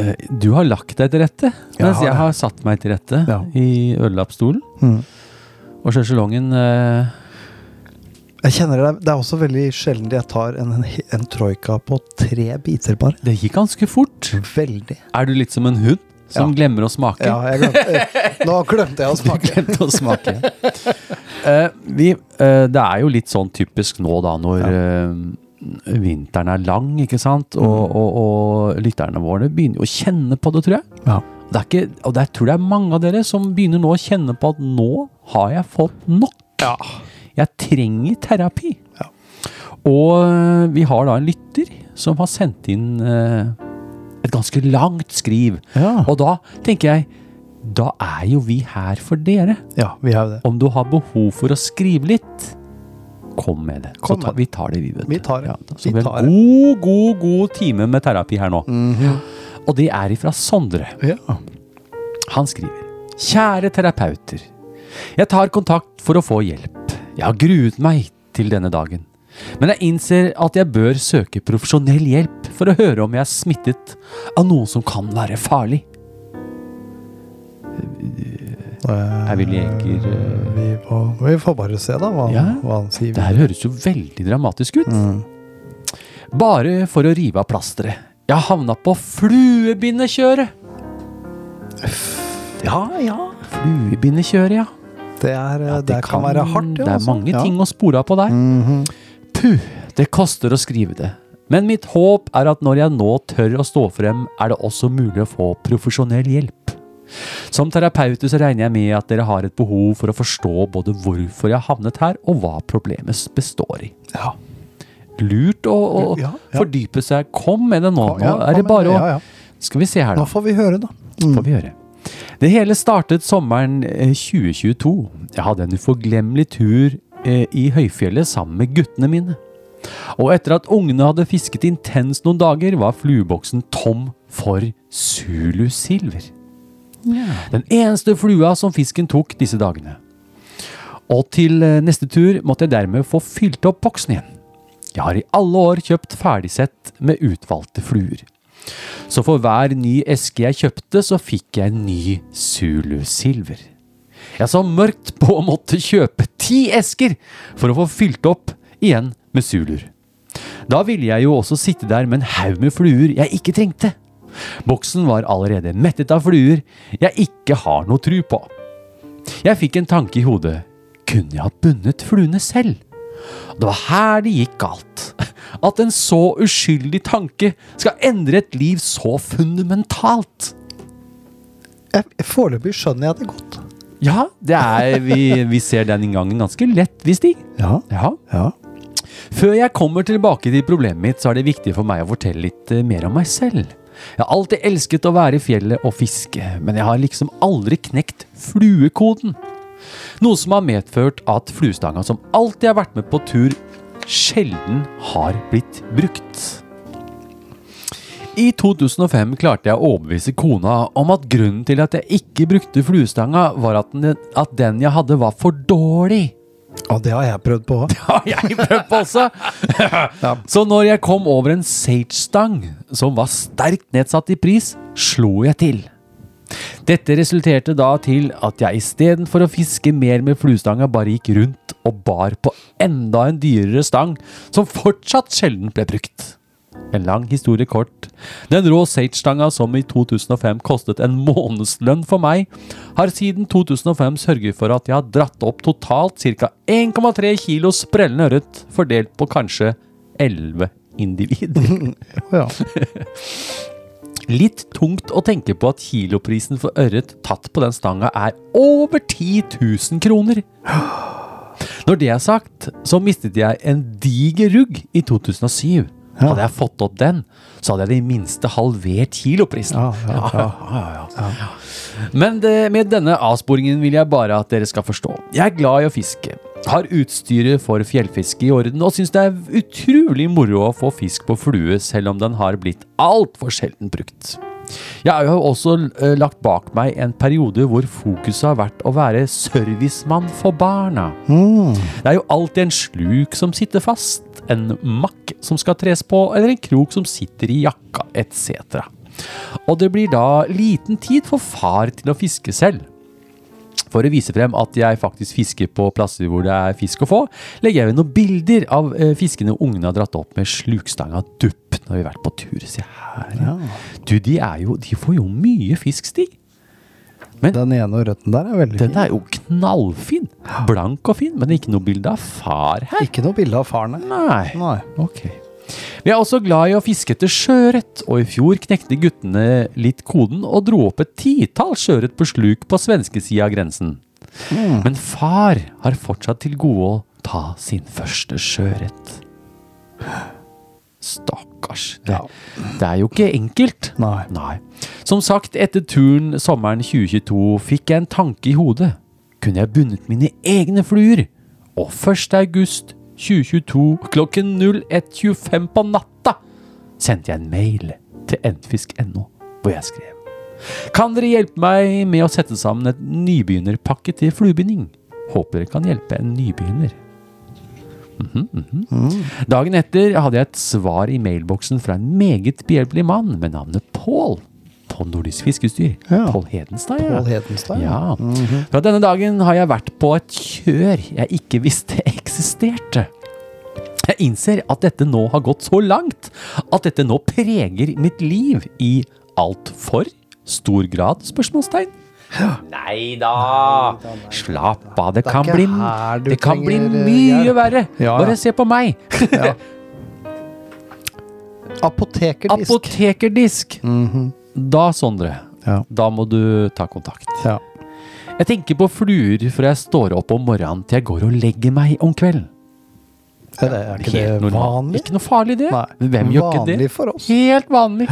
Speaker 1: eh, Du har lagt deg til rette,
Speaker 5: Jeg
Speaker 1: mens
Speaker 5: har
Speaker 1: jeg
Speaker 5: det.
Speaker 1: har satt meg til rette
Speaker 5: Ja. Hmm.
Speaker 1: i ørelappstolen.
Speaker 5: Mhm.
Speaker 1: Og sjeselongen eh,
Speaker 5: Jeg kjenner det, det er også veldig sjelden jeg tar en, en troika på tre biter, bare.
Speaker 1: Det gikk ganske fort.
Speaker 5: Veldig.
Speaker 1: Er du litt som en hund som
Speaker 5: Ja.
Speaker 1: glemmer å smake?
Speaker 5: Ja, jeg glemte, eh, nå glemte jeg å smake.
Speaker 1: Glemte å smake. Eh, vi, eh, det er jo litt sånn typisk nå da, når eh, vinteren er lang, ikke sant? Og, og, og lytterne våre begynner jo å kjenne på det, tror jeg.
Speaker 5: Ja.
Speaker 1: Det er ikke, og jeg tror det er mange av dere som begynner nå å kjenne på at nå har jeg fått nok. Jeg trenger terapi.
Speaker 5: Ja.
Speaker 1: Og eh, vi har da en lytter som har sendt inn eh, et ganske langt skriv.
Speaker 5: Ja.
Speaker 1: Og da tenker jeg, da er jo vi her for dere.
Speaker 5: ja, vi har jo det.
Speaker 1: Om du har behov for å skrive litt, kom med det. Så
Speaker 5: Kom med
Speaker 1: ta,
Speaker 5: det.
Speaker 1: vi tar det, vi, vet
Speaker 5: Vi tar det.
Speaker 1: Ja,
Speaker 5: Vi
Speaker 1: så vi har
Speaker 5: tar
Speaker 1: en
Speaker 5: det. Mhm.
Speaker 1: god, god, god time med terapi her nå. Og det er ifra Sondre.
Speaker 5: Ja.
Speaker 1: Han skriver Kjære terapeuter. Jeg tar kontakt for å få hjelp. Jeg har gruet meg til denne dagen. Men jeg innser at jeg bør søke profesjonell hjelp for å høre om jeg er smittet av noe som kan være farlig. Er vi leker eh,
Speaker 5: Vi får, vi får bare se, da, hva,
Speaker 1: Ja.
Speaker 5: hva han sier.
Speaker 1: Det her høres jo veldig dramatisk ut. Bare for å rive av plasteret. Jeg har havna på fluebindekjøret. Ja, ja. Fluebindekjøret, ja.
Speaker 5: Det, er, eh, det, kan, være hardt.
Speaker 1: det er
Speaker 5: altså. Mhm.
Speaker 1: mange ting å spore av på der. Puh, det koster å skrive det. Men mitt håp er at når jeg nå tør å stå frem, er det også mulig å få profesjonell hjelp. Som terapeuter så regner jeg med at dere har et behov for å forstå både hvorfor jeg har havnet her, og hva problemet består i.
Speaker 5: Ja.
Speaker 1: Lurt å, å
Speaker 5: Ja, ja.
Speaker 1: fordype seg. Kom med det nå.
Speaker 5: Kom, ja,
Speaker 1: nå er det
Speaker 5: kom med
Speaker 1: bare å
Speaker 5: det. Ja, ja.
Speaker 1: Skal vi se her, da
Speaker 5: Nå får vi høre, da.
Speaker 1: får vi gjøre. Det hele startet sommeren eh, 2022. Jeg hadde en uforglemmelig tur eh, i høyfjellet sammen med guttene mine. Og etter at ungene hadde fisket intenst noen dager, var flueboksen tom for zulusilver. Den eneste flua som fisken tok disse dagene. Og til eh, neste tur måtte jeg dermed få fylt opp boksen igjen. Jeg har i alle år kjøpt ferdigsett med utvalgte fluer. Så for hver ny eske jeg kjøpte, så fikk jeg en ny Zulu-silver. Jeg så mørkt på å måtte kjøpe ti esker for å få fylt opp igjen med Zuluer. Da ville jeg jo også sitte der med en haug med fluer jeg ikke trengte. Boksen var allerede mettet av fluer jeg ikke har noe tru på. Jeg fikk en tanke i hodet. Kunne jeg ha bundet fluene selv? Det var her det gikk galt. At en så uskyldig tanke skal endre et liv så fundamentalt.
Speaker 5: Jeg, foreløpig skjønner jeg det godt.
Speaker 1: Ja, det er, vi, vi ser den inngangen ganske lett, vi, Stig.
Speaker 5: Ja.
Speaker 1: Ja.
Speaker 5: ja.
Speaker 1: Før jeg kommer tilbake til problemet mitt, så er det viktig for meg å fortelle litt eh, mer om meg selv. Jeg har alltid elsket å være i fjellet og fiske, men jeg har liksom aldri knekt fluekoden. Noe som har medført at fluestanga som alltid har vært med på tur, sjelden har blitt brukt. I 2005 klarte jeg å overbevise kona om at grunnen til at jeg ikke brukte fluestanga, var at den, at den jeg hadde var for dårlig.
Speaker 5: Og det har jeg prøvd på.
Speaker 1: har jeg prøvd på også. Så når jeg kom over en Sage-stang som var sterkt nedsatt i pris, slo jeg til. Dette resulterte da til at jeg istedenfor å fiske mer med fluestanga, bare gikk rundt og bar på enda en dyrere stang, som fortsatt sjelden ble brukt. En lang historie kort. Den rå Sage-stanga som i 2005 kostet en månedslønn for meg, har siden 2005 sørget for at jeg har dratt opp totalt ca. 1,3 kilo sprellende ørret, fordelt på kanskje 11 individer.
Speaker 5: Ja.
Speaker 1: Litt tungt å tenke på at kiloprisen for ørret tatt på den stanga er over 10 000 kroner. Når det er sagt, så mistet jeg en diger rugg i 2007. Hadde jeg fått opp den, så hadde jeg i det minste halvert kiloprisen.
Speaker 5: Ja, ja, ja.
Speaker 1: Ja, ja, ja. Men det, med denne avsporingen vil jeg bare at dere skal forstå. Jeg er glad i å fiske. Har utstyret for fjellfiske i orden og syns det er utrolig moro å få fisk på flue, selv om den har blitt altfor sjelden brukt. Jeg har jo også eh, lagt bak meg en periode hvor fokuset har vært å være servicemann for barna. Det er jo alltid en sluk som sitter fast, en makk som skal tres på, eller en krok som sitter i jakka, etc. Og det blir da liten tid for far til å fiske selv. For å vise frem at jeg faktisk fisker på plasser hvor det er fisk å få, legger jeg ved noen bilder av eh, fiskene ungene har dratt opp med slukstanga dupp når vi har vært på tur. Se her, ja. Du, de, er jo, de får jo mye fisk, Stig.
Speaker 5: Den ene og røtten der er veldig
Speaker 1: Den
Speaker 5: fin.
Speaker 1: er jo knallfin. Blank og fin, men ikke noe bilde av far her.
Speaker 5: Ikke noe bilde av faren her.
Speaker 1: Nei.
Speaker 5: Nei.
Speaker 1: Ok. Vi er også glad i å fiske etter sjøørret, og i fjor knekte guttene litt koden og dro opp et titall sjøørret på sluk på svenskesida av grensen. Men far har fortsatt til gode å ta sin første sjøørret. Stakkars. Det, det er jo ikke enkelt.
Speaker 5: Nei.
Speaker 1: Som sagt, etter turen sommeren 2022 fikk jeg en tanke i hodet. Kunne jeg bundet mine egne fluer? Og 1. august 2022 klokken 01.25 på natta sendte jeg en mail til nfisk.no, hvor jeg skrev Kan dere hjelpe meg med å sette sammen et nybegynnerpakke til fluebinding? Håper dere kan hjelpe en nybegynner. Mhm, Dagen etter hadde jeg et svar i mailboksen fra en meget behjelpelig mann med navnet Pål. På Nordisk Fiskestyr.
Speaker 5: Ja.
Speaker 1: Pål Hedenstad, ja.
Speaker 5: Pål Hedenstad,
Speaker 1: Ja.
Speaker 5: Mhm.
Speaker 1: Fra denne dagen har jeg vært på et kjør jeg ikke visste eksisterte. Jeg innser at dette nå har gått så langt at dette nå preger mitt liv i altfor stor grad? spørsmålstegn. Nei da! Slapp av, det,
Speaker 5: er
Speaker 1: kan
Speaker 5: ikke
Speaker 1: bli,
Speaker 5: her du
Speaker 1: det kan bli
Speaker 5: trenger, eh,
Speaker 1: mye
Speaker 5: hjelp.
Speaker 1: verre.
Speaker 5: Ja, ja.
Speaker 1: Bare se på meg.
Speaker 5: Apotekerdisk.
Speaker 1: Apotekerdisk. Da, Sondre,
Speaker 5: Mhm. Ja.
Speaker 1: da må du ta kontakt.
Speaker 5: ja.
Speaker 1: Jeg tenker på fluer fra jeg står opp om morgenen til jeg går og legger meg om kvelden.
Speaker 5: Er det, er ikke
Speaker 1: Helt
Speaker 5: det
Speaker 1: normalt.
Speaker 5: vanlig?
Speaker 1: Ikke noe farlig, det.
Speaker 5: Nei.
Speaker 1: Hvem gjør ikke det?
Speaker 5: Vanlig for oss.
Speaker 1: Helt vanlig.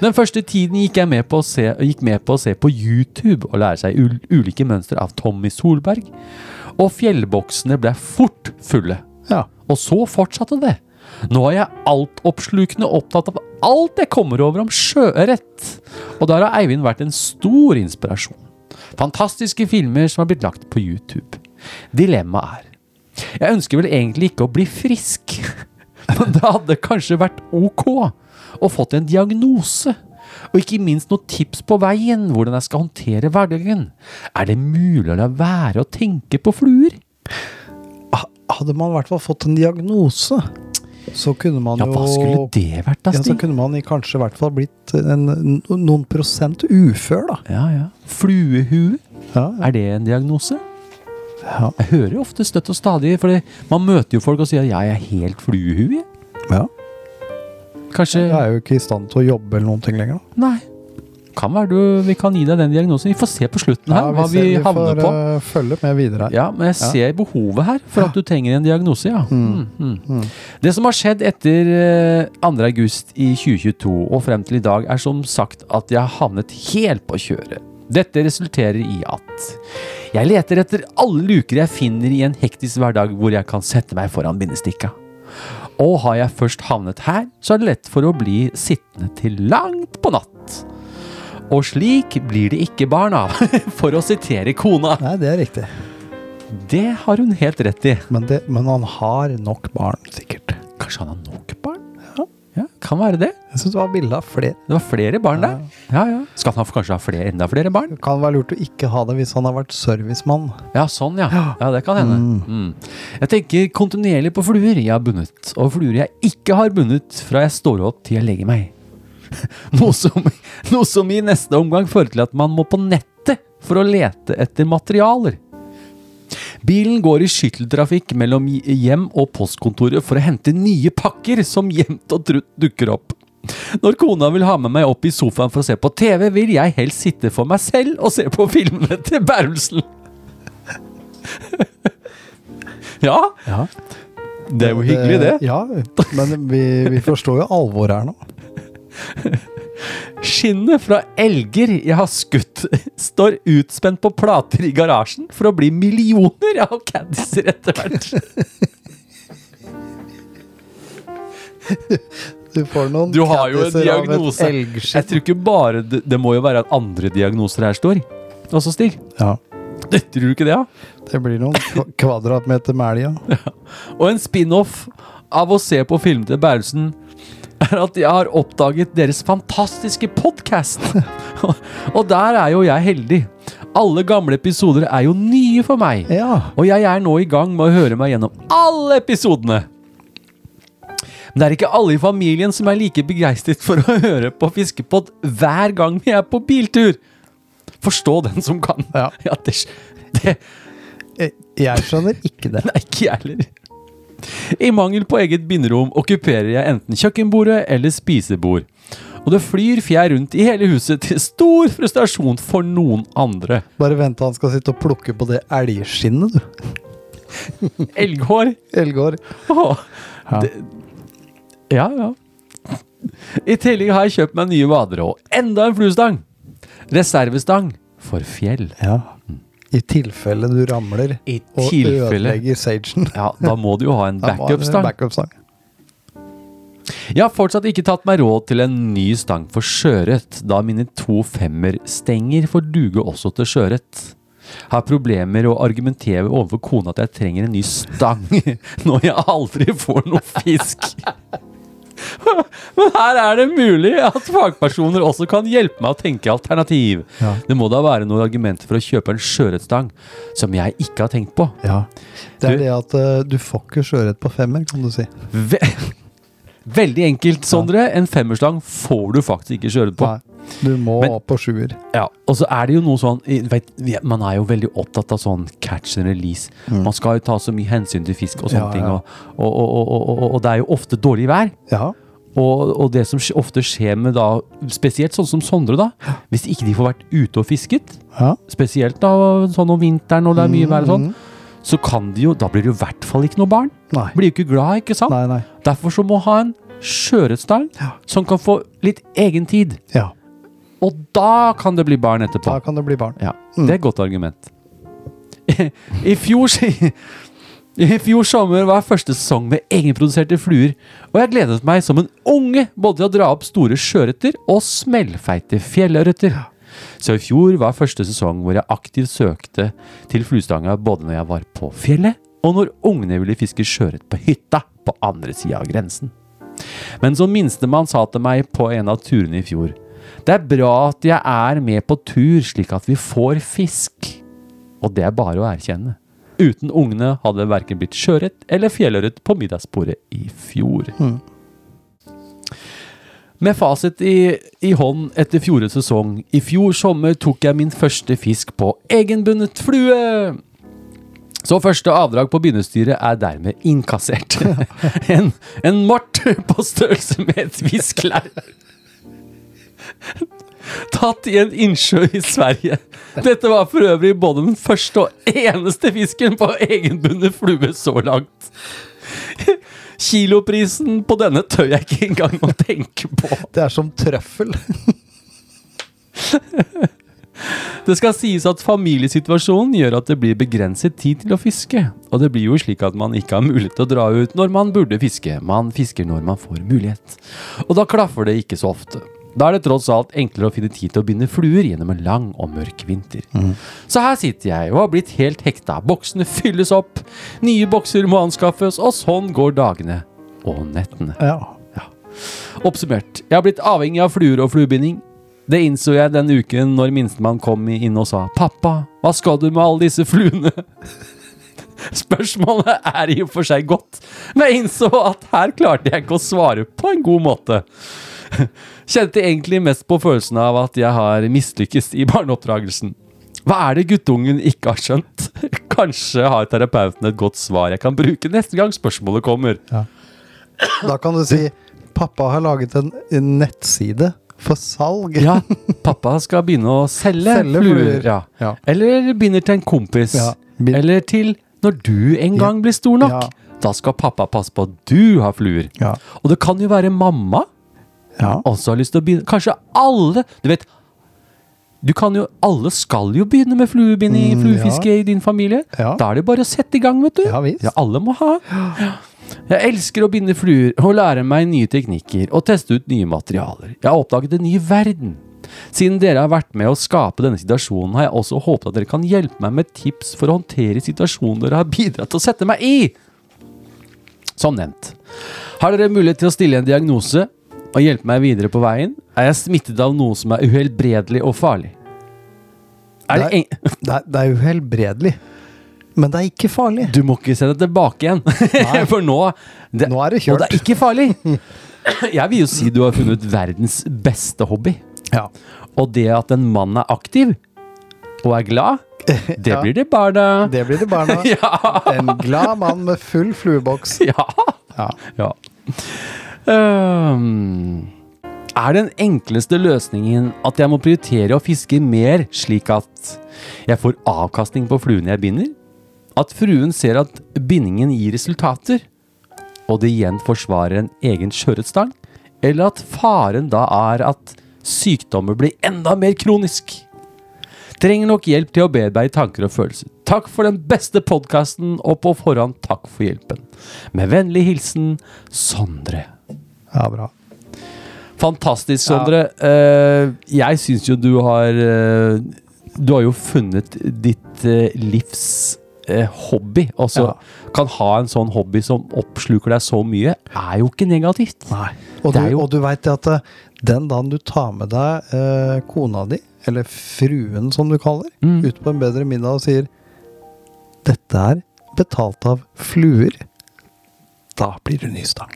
Speaker 1: Den første tiden gikk jeg med på å se, gikk med på, å se på YouTube og lære seg ul ulike mønstre av Tommy Solberg. Og fjellboksene ble fort fulle.
Speaker 5: Ja.
Speaker 1: Og så fortsatte det. Nå er jeg altoppslukende opptatt av alt jeg kommer over om sjøørret. Og der har Eivind vært en stor inspirasjon. Fantastiske filmer som har blitt lagt på YouTube. Dilemmaet er Jeg ønsker vel egentlig ikke å bli frisk, men det hadde kanskje vært ok å fått en diagnose. Og ikke minst noen tips på veien, hvordan jeg skal håndtere hverdagen. Er det mulig å la være å tenke på fluer?
Speaker 5: Hadde man i hvert fall fått en diagnose, så kunne man
Speaker 1: Ja,
Speaker 5: jo
Speaker 1: hva skulle det vært, da,
Speaker 5: ja, så
Speaker 1: Stig?
Speaker 5: kunne man i kanskje i hvert fall blitt en, noen prosent ufør, da.
Speaker 1: Ja, ja. Fluehue,
Speaker 5: Ja,
Speaker 1: er det en diagnose?
Speaker 5: ja.
Speaker 1: Jeg hører jo ofte støtt og stadig, for man møter jo folk og sier «Ja, jeg er helt fluehue. jeg». Eh.
Speaker 5: ja.
Speaker 1: Kanskje
Speaker 5: Jeg er jo ikke i stand til å jobbe eller noen ting lenger. Da.
Speaker 1: Nei. Kan være du, vi kan gi deg den diagnosen. Vi får se på slutten her hva vi,
Speaker 5: ser-
Speaker 1: havner
Speaker 5: får
Speaker 1: på.
Speaker 5: eh, følge med videre her.
Speaker 1: Ja, men jeg ser behovet her for at du trenger en diagnose, ja. Mm, mm. Det som har skjedd etter eh, 2. august i 2022 og frem til i dag, er som sagt at jeg har havnet helt på kjøret. Dette resulterer i at jeg leter etter alle luker jeg finner i en hektisk hverdag hvor jeg kan sette meg foran bindestikka. Og har jeg først havnet her, så er det lett for å bli sittende til langt på natt. Og slik blir det ikke barn av, for å sitere kona.
Speaker 5: Nei, det er riktig.
Speaker 1: Det har hun helt rett i.
Speaker 5: Men, det, men han har nok barn, sikkert.
Speaker 1: Kanskje han har nok barn? Ja. kan være det.
Speaker 5: Jeg syns det var bilde av flere.
Speaker 1: Det var flere barn der. Ja, ja. Skal han kanskje ha flere, enda flere barn?
Speaker 5: Det kan være lurt å ikke ha det hvis han har vært servicemann.
Speaker 1: Ja, sånn ja. Ja, det kan hende. Mm. Jeg tenker kontinuerlig på fluer jeg har bundet, og fluer jeg ikke har bundet fra jeg står opp til jeg legger meg. Noe som, noe som i neste omgang fører til at man må på nettet for å lete etter materialer. Bilen går i skytteltrafikk mellom hjem og postkontoret for å hente nye pakker som jevnt og trutt dukker opp. Når kona vil ha med meg opp i sofaen for å se på TV, vil jeg helst sitte for meg selv og se på filmene til Berlsen. ja,
Speaker 5: Ja.
Speaker 1: det er jo hyggelig, det.
Speaker 5: Eh, Ja, men vi, vi forstår jo alvoret her nå.
Speaker 1: Skinnet fra elger jeg har skutt, står utspent på plater i garasjen for å bli millioner av caddiser etter hvert.
Speaker 5: Du får noen
Speaker 1: Du har jo en
Speaker 5: cattiser av et
Speaker 1: diagnose. Jeg
Speaker 5: elgskinn.
Speaker 1: tror ikke bare Det, det må jo være at andre diagnoser her står. Også Stig.
Speaker 5: Ja.
Speaker 1: Det tror du ikke det, ja?
Speaker 5: Det blir noen kva- kvadratmeter med elg, ja.
Speaker 1: Og en spin-off av å se på filmen til Berlsen er at jeg har oppdaget deres fantastiske podkast. og der er jo jeg heldig. Alle gamle episoder er jo nye for meg.
Speaker 5: Ja.
Speaker 1: Og jeg er nå i gang med å høre meg gjennom alle episodene. Men det er ikke alle i familien som er like begeistret for å høre på Fiskepod hver gang vi er på biltur. Forstå den som kan.
Speaker 5: Ja.
Speaker 1: det, det
Speaker 5: Eh, Jeg skjønner ikke det.
Speaker 1: Nei, ikke jeg heller. I mangel på eget binderom okkuperer jeg enten kjøkkenbordet eller spisebord. Og det flyr fjær rundt i hele huset til stor frustrasjon for noen andre.
Speaker 5: Bare vent til han skal sitte og plukke på det elgskinnet, du.
Speaker 1: Elghår
Speaker 5: Elgård.
Speaker 1: Åh,
Speaker 5: Ja.
Speaker 1: det- Ja, ja. I tillegg har jeg kjøpt meg nye vader og enda en fluestang. Reservestang for fjell.
Speaker 5: Ja. I tilfelle du ramler
Speaker 1: I
Speaker 5: og
Speaker 1: tilfelle.
Speaker 5: ødelegger sagen.
Speaker 1: Ja, Da må du jo ha en
Speaker 5: Da var det
Speaker 1: backup-stang.
Speaker 5: backup-stang.
Speaker 1: Jeg har fortsatt ikke tatt meg råd til en ny stang for sjøørret, da mine to femmerstenger får duge også til sjøørret. Har problemer å argumentere overfor kona at jeg trenger en ny stang når jeg aldri får noe fisk. Men her er det mulig at fagpersoner også kan hjelpe meg å tenke alternativ.
Speaker 5: Ja.
Speaker 1: Det må da være noen argumenter for å kjøpe en sjøørretstang som jeg ikke har tenkt på.
Speaker 5: Ja. Det er
Speaker 1: Du-
Speaker 5: det at eh, du får ikke sjøørret på femmer, kan du si.
Speaker 1: Ve Veldig enkelt, Sondre. En femmerslang får du faktisk ikke sjøørret på.
Speaker 5: Nei. Du må
Speaker 1: Men-
Speaker 5: opp på sjuer.
Speaker 1: Ja, og så er det jo noe sånn i- vet, vi- Man er jo veldig opptatt av sånn catch and release. Man skal jo ta så mye hensyn til fisk og sånne
Speaker 5: Mm. Ja,
Speaker 1: ting.
Speaker 5: ja.
Speaker 1: Og, og, og, og, og, og det er jo ofte dårlig vær.
Speaker 5: Ja.
Speaker 1: Og, og det som skj- ofte skjer med da, spesielt sånn som Sondre, da. Hvis ikke de får vært ute og fisket,
Speaker 5: ja.
Speaker 1: spesielt da sånn om vinteren når det er mye vær og sånn,
Speaker 5: Mm.
Speaker 1: så kan de jo Da blir det jo i hvert fall ikke noe barn.
Speaker 5: Nei.
Speaker 1: Blir jo ikke glad, ikke sant?
Speaker 5: Nei, nei.
Speaker 1: Derfor så må ha en sjøørretstang
Speaker 5: Ja.
Speaker 1: som kan få litt egen tid.
Speaker 5: Ja.
Speaker 1: Og da kan det bli barn etterpå.
Speaker 5: Da kan det bli barn.
Speaker 1: Ja, det er et godt argument. I fjor, si- I fjor sommer var første sesong med egenproduserte fluer, og jeg gledet meg som en unge både til å dra opp store sjøørreter og smellfeite fjellørreter. Så i fjor var første sesong hvor jeg aktivt søkte til fluestanga både når jeg var på fjellet, og når ungene ville fiske sjøørret på hytta på andre sida av grensen. Men som minstemann sa til meg på en av turene i fjor Det er bra at jeg er med på tur slik at vi får fisk. Og det er bare å erkjenne. Uten ungene hadde det verken blitt sjøørret eller fjellørret på middagsbordet i fjor. Med fasit i, i hånd etter fjorårets sesong, i fjor sommer tok jeg min første fisk på egenbundet flue. Så første avdrag på begynnerstyret er dermed innkassert. En, en mort på størrelse med et viskelær. Tatt i en innsjø i Sverige. Dette var for øvrig både den første og eneste fisken på egenbundet flue så langt. Kiloprisen på denne tør jeg ikke engang å tenke på.
Speaker 5: Det er som trøffel.
Speaker 1: Det skal sies at familiesituasjonen gjør at det blir begrenset tid til å fiske. Og det blir jo slik at man ikke har mulighet til å dra ut når man burde fiske. Man fisker når man får mulighet. Og da klaffer det ikke så ofte. Da er det tross alt enklere å finne tid til å binde fluer gjennom en lang og mørk vinter. Så her sitter jeg og har blitt helt hekta. Boksene fylles opp, nye bokser må anskaffes, og sånn går dagene og nettene.
Speaker 5: Ja.
Speaker 1: Oppsummert, jeg har blitt avhengig av fluer og fluebinding. Det innså jeg den uken når minstemann kom i- inn og sa 'Pappa, hva skal du med alle disse fluene?' Spørsmålet er i og for seg godt, men jeg innså at her klarte jeg ikke å svare på en god måte. Kjente egentlig mest på følelsen av at jeg har mislykkes i barneoppdragelsen. Hva er det guttungen ikke har skjønt? Kanskje har terapeuten et godt svar jeg kan bruke neste gang spørsmålet kommer.
Speaker 5: Da kan du si 'Pappa har laget en en nettside for salg'.
Speaker 1: Ja, pappa skal begynne å selge,
Speaker 5: Selge
Speaker 1: fluer.
Speaker 5: fluer.
Speaker 1: Ja.
Speaker 5: Ja.
Speaker 1: Eller begynner til en kompis.
Speaker 5: Ja, begyn-
Speaker 1: Eller til når du en gang blir stor nok. Da skal pappa passe på at du har fluer.
Speaker 5: Ja.
Speaker 1: Og det kan jo være mamma
Speaker 5: Ja.
Speaker 1: også har lyst til å begynne. Kanskje alle Du vet, du kan jo, alle skal jo begynne med fluebinding,
Speaker 5: Mm,
Speaker 1: fluefiske i din familie.
Speaker 5: Ja.
Speaker 1: Da er det bare å sette i gang, vet du.
Speaker 5: Ja, visst.
Speaker 1: alle må ha. Jeg elsker å binde fluer og lære meg nye teknikker og teste ut nye materialer. Jeg har oppdaget en ny verden. Siden dere har vært med å skape denne situasjonen, har jeg også håpet at dere kan hjelpe meg med tips for å håndtere situasjonen dere har bidratt til å sette meg i. Som nevnt. Sånn Har dere mulighet til å stille en diagnose og hjelpe meg videre på veien? Er jeg smittet av noe som er uhelbredelig og farlig? Er det
Speaker 5: Nei.
Speaker 1: en...
Speaker 5: Det er, det er uhelbredelig. Men det er ikke farlig.
Speaker 1: Du må ikke se det tilbake igjen. For nå det,
Speaker 5: Nå er det kjørt.
Speaker 1: Og det er ikke farlig. Jeg vil jo si du har funnet verdens beste hobby.
Speaker 5: Ja.
Speaker 1: Og det at en mann er aktiv og er glad, det
Speaker 5: Ja.
Speaker 1: blir det barna.
Speaker 5: Det blir det barna.
Speaker 1: Ja.
Speaker 5: En glad mann med full flueboks.
Speaker 1: Ja.
Speaker 5: Ja.
Speaker 1: ja. Øhm, er den enkleste løsningen at jeg må prioritere å fiske mer, slik at jeg får avkastning på fluene jeg binder? At fruen ser at bindingen gir resultater, og det igjen forsvarer en egen sjøørretstang? Eller at faren da er at sykdommer blir enda mer kronisk? Trenger nok hjelp til å bearbeide tanker og følelser. Takk for den beste podkasten, og på forhånd takk for hjelpen. Med vennlig hilsen Sondre.
Speaker 5: Ja, bra.
Speaker 1: Fantastisk, Sondre. Eh, jeg syns jo du har eh, Du har jo funnet ditt eh, livs eh, hobby. Altså,
Speaker 5: Ja.
Speaker 1: kan ha en sånn hobby som oppsluker deg så mye, er jo ikke negativt. Nei.
Speaker 5: Og du,
Speaker 1: Det er jo-
Speaker 5: og du veit at eh, den dagen du tar med deg eh, kona di, eller fruen som du kaller,
Speaker 1: Mm.
Speaker 5: ut på en bedre middag og sier 'Dette er betalt av fluer', da blir det ny stang.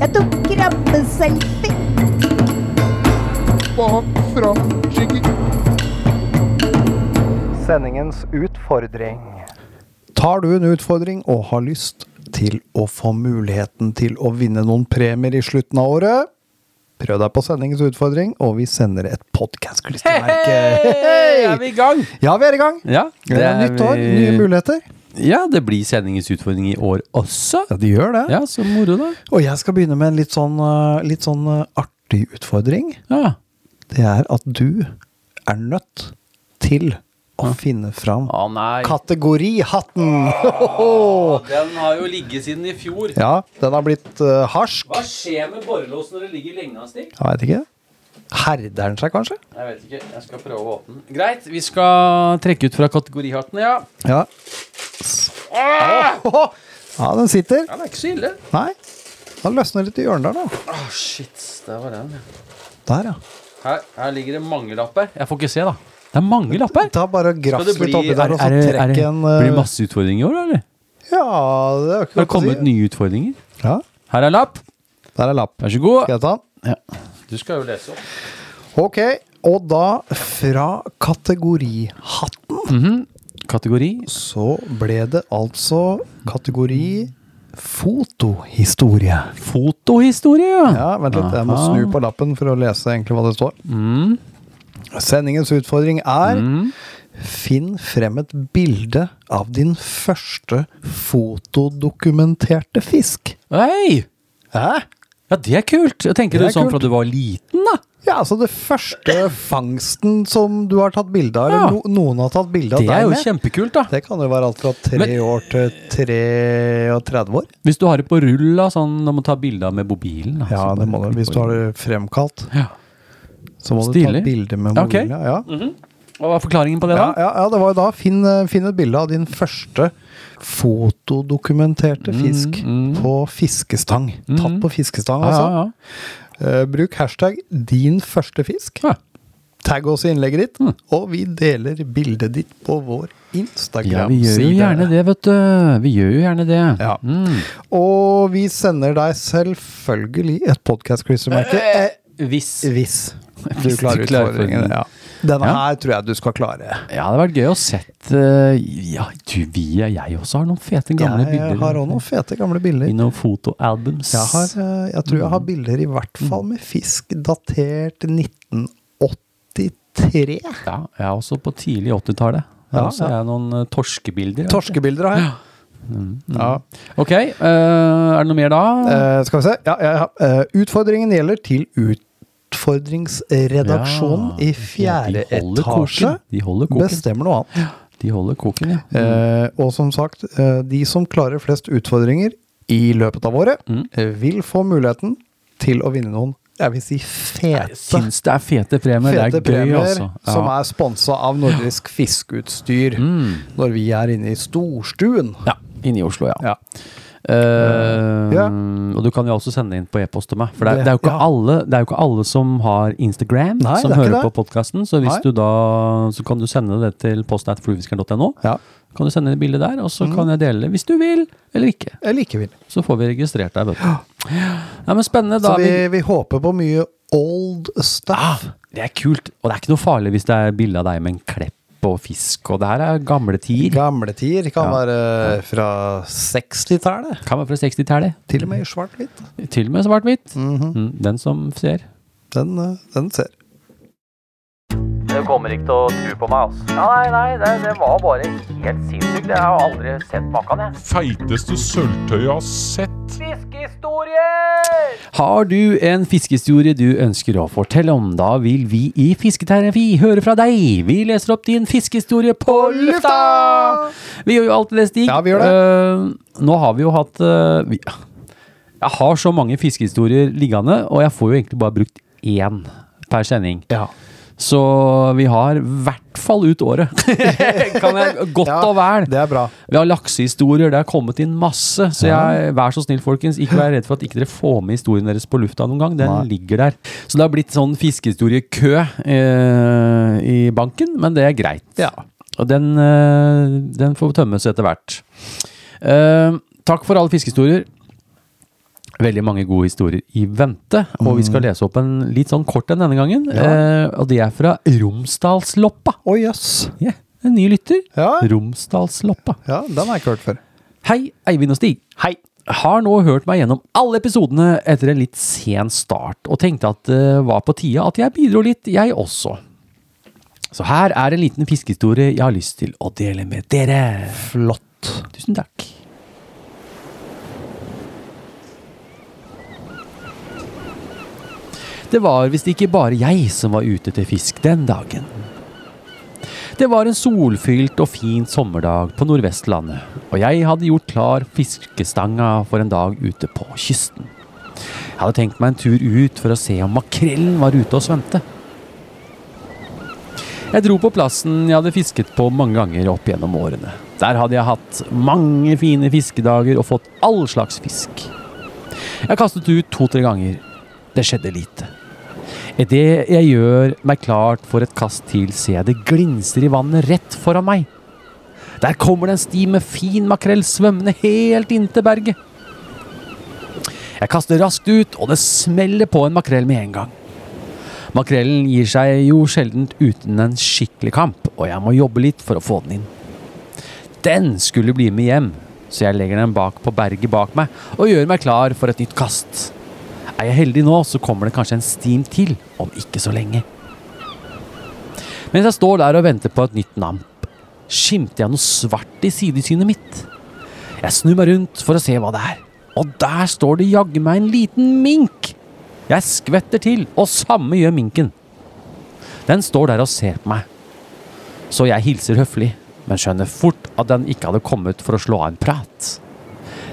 Speaker 6: Jeg tok krabbeselfie.
Speaker 4: Sendingens utfordring.
Speaker 5: Tar du en utfordring og har lyst til å få muligheten til å vinne noen premier i slutten av året, prøv deg på sendingens utfordring, og vi sender et podkast-klistremerke.
Speaker 1: Er vi i gang?
Speaker 5: Ja, vi er i gang!
Speaker 1: Ja,
Speaker 5: Det er nytt år, nye muligheter.
Speaker 1: Ja, det blir sendingens utfordring i år også.
Speaker 5: Ja, de gjør det.
Speaker 1: Ja, så moro, da.
Speaker 5: Og jeg skal begynne med en litt sånn, eh, litt sånn eh, artig utfordring.
Speaker 1: Ja.
Speaker 5: Det er at du er nødt til å finne fram
Speaker 1: Å nei.
Speaker 5: kategorihatten.
Speaker 1: Den har jo ligget siden i fjor.
Speaker 5: Ja, den har blitt eh, harsk.
Speaker 1: Hva skjer med borrelås når det ligger lenge, Stig?
Speaker 5: Jeg veit ikke. Herder den seg, kanskje?
Speaker 1: Jeg vet ikke. Jeg skal prøve å åpne den. Greit, vi skal trekke ut fra kategorihatten, ja.
Speaker 5: Ja. Åh! Ja, den sitter.
Speaker 1: Ja, det er ikke så ille.
Speaker 5: Nei. Den løsner litt i hjørnet der, da.
Speaker 1: Å, shit. Der var den. ja.
Speaker 5: Der, ja.
Speaker 1: Her, her ligger det mange lapper. Jeg får ikke se, da. Det er mange lapper.
Speaker 5: Ta bare og
Speaker 1: Skal
Speaker 5: grafs
Speaker 1: det bli-
Speaker 5: litt oppi
Speaker 1: er-
Speaker 5: der, og så
Speaker 1: er det- er
Speaker 5: trekk
Speaker 1: det-
Speaker 5: en
Speaker 1: Blir det
Speaker 5: eh,
Speaker 1: masse utfordringer i år, eller?
Speaker 5: Ja, det er jo
Speaker 1: Har det
Speaker 5: ikke godt å si.
Speaker 1: kommet nye utfordringer?
Speaker 5: Ja,
Speaker 1: Her er lapp.
Speaker 5: der er lapp.
Speaker 1: Vær så god.
Speaker 5: Skal jeg ta den?
Speaker 1: Du skal jo lese opp.
Speaker 5: Ok, og da fra kategorihatten
Speaker 1: Mm. Kategori.
Speaker 5: så ble det altså kategori fotohistorie.
Speaker 1: Fotohistorie, ja.
Speaker 5: Ja, vent litt, jeg må
Speaker 1: Aha. Mm.
Speaker 5: snu på lappen for å lese egentlig hva det står. Sendingens utfordring er finn frem et bilde av din første fotodokumenterte fisk.
Speaker 1: Hei!
Speaker 5: Hæ?
Speaker 1: Ja, det er kult. Jeg tenker
Speaker 5: Det
Speaker 1: du
Speaker 5: er
Speaker 1: sånn
Speaker 5: kult.
Speaker 1: fra du var liten, da.
Speaker 5: Ja, altså det første fangsten som du har tatt bilde av, eller
Speaker 1: Ja.
Speaker 5: no, noen har tatt bilde av
Speaker 1: Det
Speaker 5: deg med.
Speaker 1: er jo kjempekult, da.
Speaker 5: Det kan jo være alt fra tre
Speaker 1: Men-
Speaker 5: år til 33 år.
Speaker 1: Hvis du har det på rull, da, sånn når man tar bilder med mobilen. da,
Speaker 5: Ja,
Speaker 1: så
Speaker 5: det må
Speaker 1: bare-
Speaker 5: du. Hvis du har det fremkalt,
Speaker 1: Ja.
Speaker 5: så må du
Speaker 1: Stilig.
Speaker 5: ta bilde med
Speaker 1: Ok. Mm.
Speaker 5: mobilen. Ja.
Speaker 1: Hva var forklaringen på det,
Speaker 5: Ja,
Speaker 1: da?
Speaker 5: ja, ja, det var jo da. Finn, eh, finn et bilde av din første fotodokumenterte
Speaker 1: Mm,
Speaker 5: fisk på fiskestang. Tatt på fiskestang, altså.
Speaker 1: ja,
Speaker 5: Eh, bruk hashtag 'din første fisk'.
Speaker 1: Ja. Mm.
Speaker 5: Tagg oss i innlegget ditt, og vi deler bildet ditt på vår Instagram-side.
Speaker 1: vi gjør jo gjerne det, vet du. Vi gjør jo gjerne det.
Speaker 5: Ja.
Speaker 1: Mm.
Speaker 5: Og vi sender deg selvfølgelig et podkast-klistremerke. Eh,
Speaker 1: Hvis.
Speaker 5: hvis du
Speaker 1: Hvis du
Speaker 5: klarer
Speaker 1: klarer
Speaker 5: utfordringen.
Speaker 1: utfordringen.
Speaker 5: Ja. Denne
Speaker 1: Ja.
Speaker 5: her tror jeg du skal klare.
Speaker 1: Ja, det hadde vært gøy å sett eh, Ja, du, vi og jeg også har noen fete gamle
Speaker 5: Jeg eh,
Speaker 1: bilder.
Speaker 5: har òg noen fete gamle bilder.
Speaker 1: I noen Mm. fotoalbums.
Speaker 5: Jeg, har, eh, jeg tror jeg har bilder i hvert
Speaker 1: Mm.
Speaker 5: fall med fisk datert 1983.
Speaker 1: Ja, jeg er også på tidlig 80-tallet. Jeg
Speaker 5: Ja,
Speaker 1: har også
Speaker 5: ja.
Speaker 1: jeg noen eh, torskebilder. Mm,
Speaker 5: Torskebilder har jeg. Ja.
Speaker 1: Ok, eh, er det noe mer da?
Speaker 5: Eh, skal vi se. Ja, ja, ja. Eh, utfordringen gjelder til utfordringsredaksjonen
Speaker 1: Ja.
Speaker 5: i fjerde
Speaker 1: Ja, de holder
Speaker 5: etasje.
Speaker 1: koken. De holder koken.
Speaker 5: Bestemmer noe annet.
Speaker 1: De holder koken, ja. Mm.
Speaker 5: Eh, og som sagt, eh, de som klarer flest utfordringer i løpet av året,
Speaker 1: Mm.
Speaker 5: eh, vil få muligheten til å vinne noen, jeg vil si fete,
Speaker 1: Jeg syns det er fete premier.
Speaker 5: fete
Speaker 1: det er gøy,
Speaker 5: premier
Speaker 1: altså. Ja. Mm.
Speaker 5: som er sponsa av Nordisk Fiskeutstyr når vi er inne i storstuen.
Speaker 1: ja, inne i Oslo, ja. Eh,
Speaker 5: Ja.
Speaker 1: Og du kan jo også sende inn på e-post til meg. For det, er-
Speaker 5: Det-
Speaker 1: det, er jo ikke
Speaker 5: ja.
Speaker 1: alle, det er jo ikke alle som har Instagram
Speaker 5: Nei,
Speaker 1: som
Speaker 5: det er ikke
Speaker 1: hører på
Speaker 5: det.
Speaker 1: podkasten. Så hvis
Speaker 5: Nei.
Speaker 1: du da Så kan du sende det til postatfluefiskeren.no.
Speaker 5: Ja.
Speaker 1: Kan du sende inn et bilde der, og så
Speaker 5: Mm.
Speaker 1: kan jeg dele det hvis du vil eller ikke.
Speaker 5: Jeg liker vi.
Speaker 1: Så får vi registrert deg, vet du. Nei, men spennende. Da Ah,
Speaker 5: Så
Speaker 1: er vi
Speaker 5: vi, vi håper på mye old stuff.
Speaker 1: Det er kult. Og det er ikke noe farlig hvis det er bilde av deg med en klepp og fisk. Og det her er gamle tider.
Speaker 5: Gamle tider kan
Speaker 1: Ja.
Speaker 5: være fra 60-tallet.
Speaker 1: Kan være fra 60-tallet.
Speaker 5: Til og med i svart-hvitt. Mhm.
Speaker 1: Til og med svart-hvitt. Mm, Den som ser.
Speaker 5: Den, eh, den ser.
Speaker 2: Du kommer ikke til å tro på meg, altså. Nei, nei, det, det var bare helt sinnssykt. Jeg har aldri sett maken, jeg.
Speaker 3: Feiteste sølvtøyet jeg har sett.
Speaker 2: Fiskehistorier!
Speaker 1: Har du en fiskehistorie du ønsker å fortelle om, da vil vi i Fisketerapi høre fra deg. Vi leser opp din fiskehistorie på lufta! Vi gjør jo alltid det, Stig.
Speaker 5: Ja, vi gjør
Speaker 1: Eh, nå har vi jo hatt eh, vi, Jeg har så mange fiskehistorier liggende, og jeg får jo egentlig bare brukt én per sending.
Speaker 5: Ja.
Speaker 1: Så vi har i hvert fall ut året. kan jeg godt
Speaker 5: Ja,
Speaker 1: og vel.
Speaker 5: Det er bra.
Speaker 1: Vi har laksehistorier, det har kommet inn masse. Så jeg, vær så snill, folkens, ikke vær redd for at ikke dere får med historien deres på lufta noen gang. Den
Speaker 5: Nei.
Speaker 1: ligger der. Så det har blitt sånn fiskehistoriekø eh, i banken, men det er greit.
Speaker 5: Ja.
Speaker 1: Og den, eh, den får tømmes etter hvert. Eh, takk for alle fiskehistorier. Veldig mange gode historier i vente, og
Speaker 5: Mm.
Speaker 1: vi skal lese opp en litt sånn kort en denne gangen. Eh, og det er fra Romsdalsloppa.
Speaker 5: Å jøss.
Speaker 1: Ja, En ny lytter.
Speaker 5: Ja.
Speaker 1: Romsdalsloppa.
Speaker 5: Ja, den har jeg ikke hørt før.
Speaker 1: Hei, Eivind og Stig. Hei. Har nå hørt meg gjennom alle episodene etter en litt sen start, og tenkte at det var på tide at jeg bidro litt, jeg også. Så her er en liten fiskehistorie jeg har lyst til å dele med dere. Flott. Tusen takk. Det var visst ikke bare jeg som var ute til fisk den dagen. Det var en solfylt og fin sommerdag på Nordvestlandet, og jeg hadde gjort klar fiskestanga for en dag ute på kysten. Jeg hadde tenkt meg en tur ut for å se om makrellen var ute og svømte. Jeg dro på plassen jeg hadde fisket på mange ganger opp gjennom årene. Der hadde jeg hatt mange fine fiskedager og fått all slags fisk. Jeg kastet ut to-tre ganger. Det skjedde lite. Idet jeg gjør meg klart for et kast til, ser jeg det glinser i vannet rett foran meg. Der kommer det en sti med fin makrell svømmende helt inntil berget. Jeg kaster raskt ut, og det smeller på en makrell med en gang. Makrellen gir seg jo sjelden uten en skikkelig kamp, og jeg må jobbe litt for å få den inn. Den skulle bli med hjem, så jeg legger den bak på berget bak meg og gjør meg klar for et nytt kast. Er jeg heldig nå, så kommer det kanskje en stim til om ikke så lenge. Mens jeg står der og venter på et nytt namp, skimter jeg noe svart i sidesynet mitt. Jeg snur meg rundt for å se hva det er, og der står det jaggu meg en liten mink! Jeg skvetter til, og samme gjør minken. Den står der og ser på meg. Så jeg hilser høflig, men skjønner fort at den ikke hadde kommet for å slå av en prat.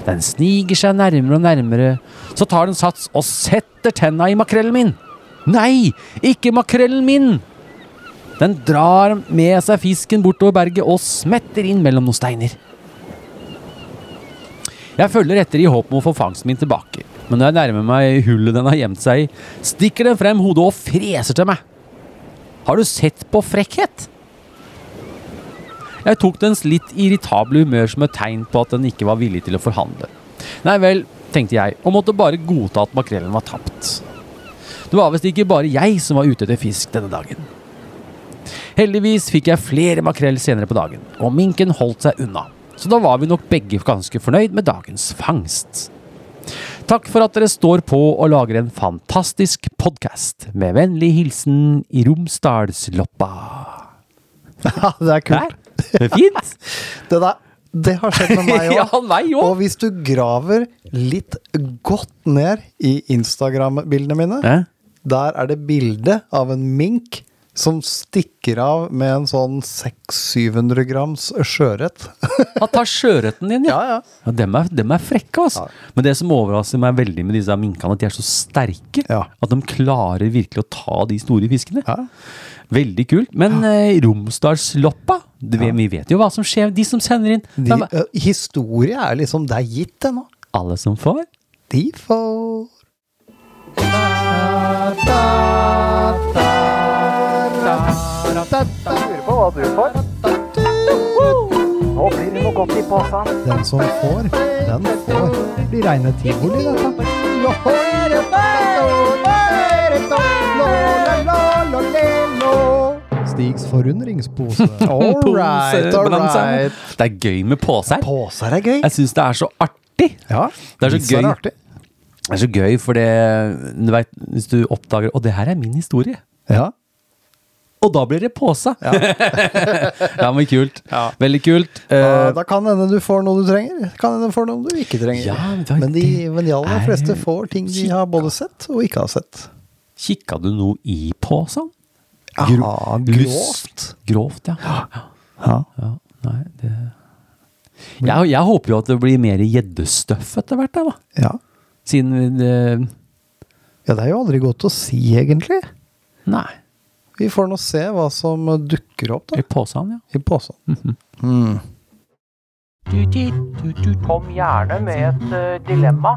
Speaker 1: Den sniger seg nærmere og nærmere. Så tar den sats og setter tenna i makrellen min. Nei, ikke makrellen min! Den drar med seg fisken bortover berget og smetter inn mellom noen steiner. Jeg følger etter i håp om å få fangsten min tilbake, men når jeg nærmer meg hullet den har gjemt seg i, stikker den frem hodet og freser til meg. Har du sett på frekkhet? Jeg tok dens litt irritable humør som et tegn på at den ikke var villig til å forhandle. Nei vel, tenkte jeg, og måtte bare godta at makrellen var tapt. Det var visst ikke bare jeg som var ute etter fisk denne dagen. Heldigvis fikk jeg flere makrell senere på dagen, og minken holdt seg unna. Så da var vi nok begge ganske fornøyd med dagens fangst. Takk for at dere står på og lager en fantastisk podkast. Med vennlig hilsen i Romsdalsloppa.
Speaker 5: Ja, det er
Speaker 1: Hæ?
Speaker 5: kult.
Speaker 1: Det er fint!
Speaker 5: Det, der, det har skjedd med meg
Speaker 1: Ja,
Speaker 5: òg.
Speaker 1: meg òg!
Speaker 5: Og hvis du graver litt godt ned i Instagram-bildene mine,
Speaker 1: Ja.
Speaker 5: der er det bilde av en mink som stikker av med en sånn 600-700 grams sjøørret.
Speaker 1: Han tar sjøørreten din, ja.
Speaker 5: Ja, ja.
Speaker 1: dem, er, dem er frekke, altså.
Speaker 5: Ja.
Speaker 1: Men det som overrasker meg veldig med disse minkene, at de er så sterke.
Speaker 5: Ja.
Speaker 1: At de klarer virkelig å ta de store fiskene.
Speaker 5: Ja.
Speaker 1: Veldig kult. Men eh, Romsdalsloppa, det- vi vet jo hva som skjer. De som sender inn
Speaker 5: De,
Speaker 1: de,
Speaker 5: eh, historie er liksom Det er gitt, det nå.
Speaker 1: Alle som får?
Speaker 5: De får
Speaker 4: Lurer på hva du får. Nå blir det noe godt i posen.
Speaker 5: Den som får, den får. Det blir reine tivoli, dette. Stigs forundringspose. All right, all
Speaker 1: Posebalanse.
Speaker 5: right.
Speaker 1: Det er gøy med poser.
Speaker 5: Poser er gøy.
Speaker 1: Jeg syns det er så artig.
Speaker 5: Ja,
Speaker 1: Det er så
Speaker 5: pizza
Speaker 1: gøy.
Speaker 5: artig.
Speaker 1: Det er så gøy, for det du vet, Hvis du oppdager Å, det her er min historie.
Speaker 5: Ja.
Speaker 1: Og da blir det pose! Ja, men kult. Veldig kult. Eh,
Speaker 5: Ja, da kan hende du får noe du trenger, kan hende du får noe du ikke trenger.
Speaker 1: Ja, men det-
Speaker 5: men, de, men de aller
Speaker 1: er-
Speaker 5: fleste får ting de har både sett og ikke har sett.
Speaker 1: kikka du noe i posen?
Speaker 5: Gro
Speaker 1: Lyst. Grovt, ja.
Speaker 5: Ja.
Speaker 1: Ja, nei, det jeg, jeg håper jo at det blir mer gjeddestøff etter hvert, da, da.
Speaker 5: Ja.
Speaker 1: Siden vi eh, det-
Speaker 5: ja, det er jo aldri godt å si, egentlig.
Speaker 1: Nei.
Speaker 5: Vi får nå se hva som dukker opp da,
Speaker 1: I posen, ja.
Speaker 5: i posen.
Speaker 2: Kom gjerne med et eh, dilemma.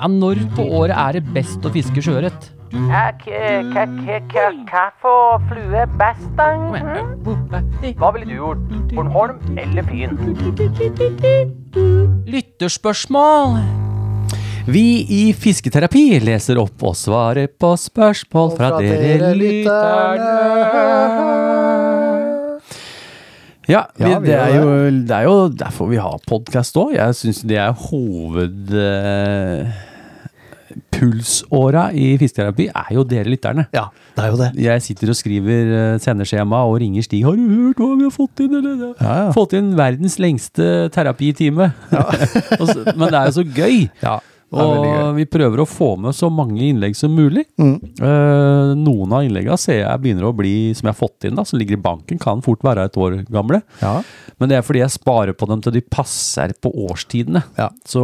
Speaker 7: Ja, når på året er det best å fiske sjøørret?
Speaker 2: Hva for flue best, da? Mhm. Hva ville du gjort? Bornholm eller Fyn?
Speaker 7: Lytterspørsmål!
Speaker 1: Vi i Fisketerapi leser opp og svarer på spørsmål fra, dere lytterne. Ja, vi,
Speaker 5: Ja, vi
Speaker 1: det,
Speaker 5: gjør
Speaker 1: er jo, det er jo derfor vi har podkast òg. Jeg syns det er hoved... eh, Pulsåra i fisketerapi er jo dere lytterne.
Speaker 5: Ja, det er jo det.
Speaker 1: Jeg sitter og skriver eh, sendeskjema og ringer Stig. 'Har du hørt hva vi har fått inn?' Eller?
Speaker 5: Ja, ja.
Speaker 1: Fått inn verdens lengste terapitime. Og så- Men det er jo så gøy.
Speaker 5: det er veldig
Speaker 1: og vi prøver å få med så mange innlegg som mulig.
Speaker 5: Mm.
Speaker 1: Eh, noen av innleggene ser jeg begynner å bli som jeg har fått inn, da, som ligger i banken. Kan fort være et år gamle.
Speaker 5: Ja.
Speaker 1: Men det er fordi jeg sparer på dem til de passer på årstidene.
Speaker 5: Ja.
Speaker 1: Så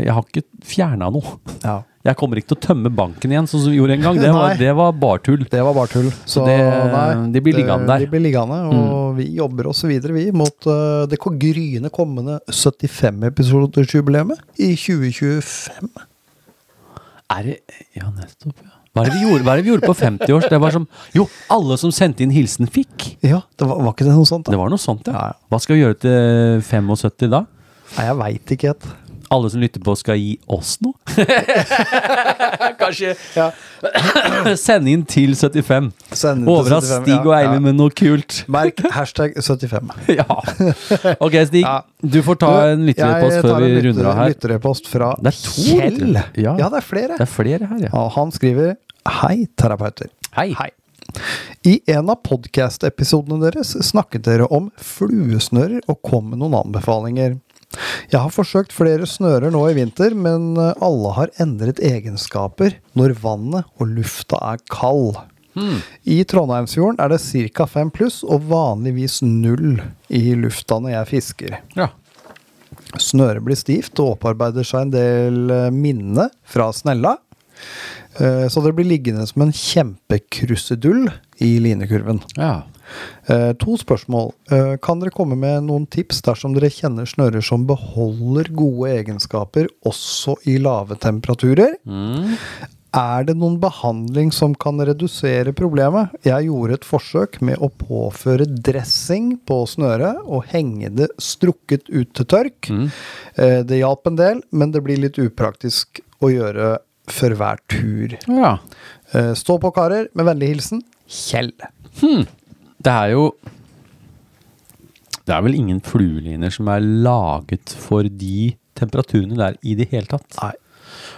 Speaker 1: jeg har ikke fjerna noe.
Speaker 5: Ja.
Speaker 1: Jeg kommer ikke til å tømme banken igjen, sånn som vi gjorde en gang. Det
Speaker 5: Nei.
Speaker 1: var, det var bartull.
Speaker 5: Det var bare tull. Så,
Speaker 1: det- de blir liggende der. Mm.
Speaker 5: De blir liggende, og vi jobber oss videre, vi, mot eh, det gryende kommende 75-episodesjubileet i 2025.
Speaker 1: Er det Ja, nettopp, ja. Hva er det vi gjorde, hva er det vi gjorde på 50-års? Det var som Jo, alle som sendte inn hilsen, fikk.
Speaker 5: Ja, det var, var ikke det noe sånt?
Speaker 1: Det
Speaker 5: da?
Speaker 1: var noe sånt, ja.
Speaker 5: Ja, ja.
Speaker 1: Hva skal vi gjøre til 75 da?
Speaker 5: Nei, jeg veit ikke. Et.
Speaker 1: Alle som lytter på, skal gi oss noe? Kanskje Send inn til 75.
Speaker 5: Send inn til
Speaker 1: Overrask
Speaker 5: 75,
Speaker 1: Stig
Speaker 5: ja,
Speaker 1: og Eivind
Speaker 5: ja.
Speaker 1: med noe kult.
Speaker 5: Merk hashtag 75.
Speaker 1: Ja. Ok, Stig.
Speaker 5: Ja.
Speaker 1: Du får ta en lytterpost før vi runder av her.
Speaker 5: Jeg tar en lytter- lytterpost fra
Speaker 1: Det er to
Speaker 5: Kjell.
Speaker 1: lyttere. Ja.
Speaker 5: Ja. det er flere.
Speaker 1: Det er flere her, ja.
Speaker 5: Og han skriver Hei, terapeuter.
Speaker 1: Hei.
Speaker 5: I en av podcast-episodene deres snakket dere om fluesnører og kom med noen anbefalinger. Jeg har forsøkt flere snører nå i vinter, men eh, alle har endret egenskaper når vannet og lufta er kald. I Trondheimsfjorden er det ca. 5 pluss og vanligvis null i lufta når jeg fisker.
Speaker 1: Ja.
Speaker 5: Snøret blir stivt og opparbeider seg en del eh, minne fra snella. Eh, Så det blir liggende som en kjempekrusedull i linekurven.
Speaker 1: ja.
Speaker 5: Eh, To spørsmål. Eh, Kan dere komme med noen tips dersom dere kjenner snører som beholder gode egenskaper også i lave temperaturer? Er det noen behandling som kan redusere problemet? Jeg gjorde et forsøk med å påføre dressing på snøret og henge det strukket ut til tørk. Eh, Det hjalp en del, men det blir litt upraktisk å gjøre for hver tur.
Speaker 1: ja.
Speaker 5: Eh, Stå på, karer. Med vennlig hilsen Kjell.
Speaker 1: Det er jo Det er vel ingen flueliner som er laget for de temperaturene der i det hele tatt.
Speaker 5: Nei.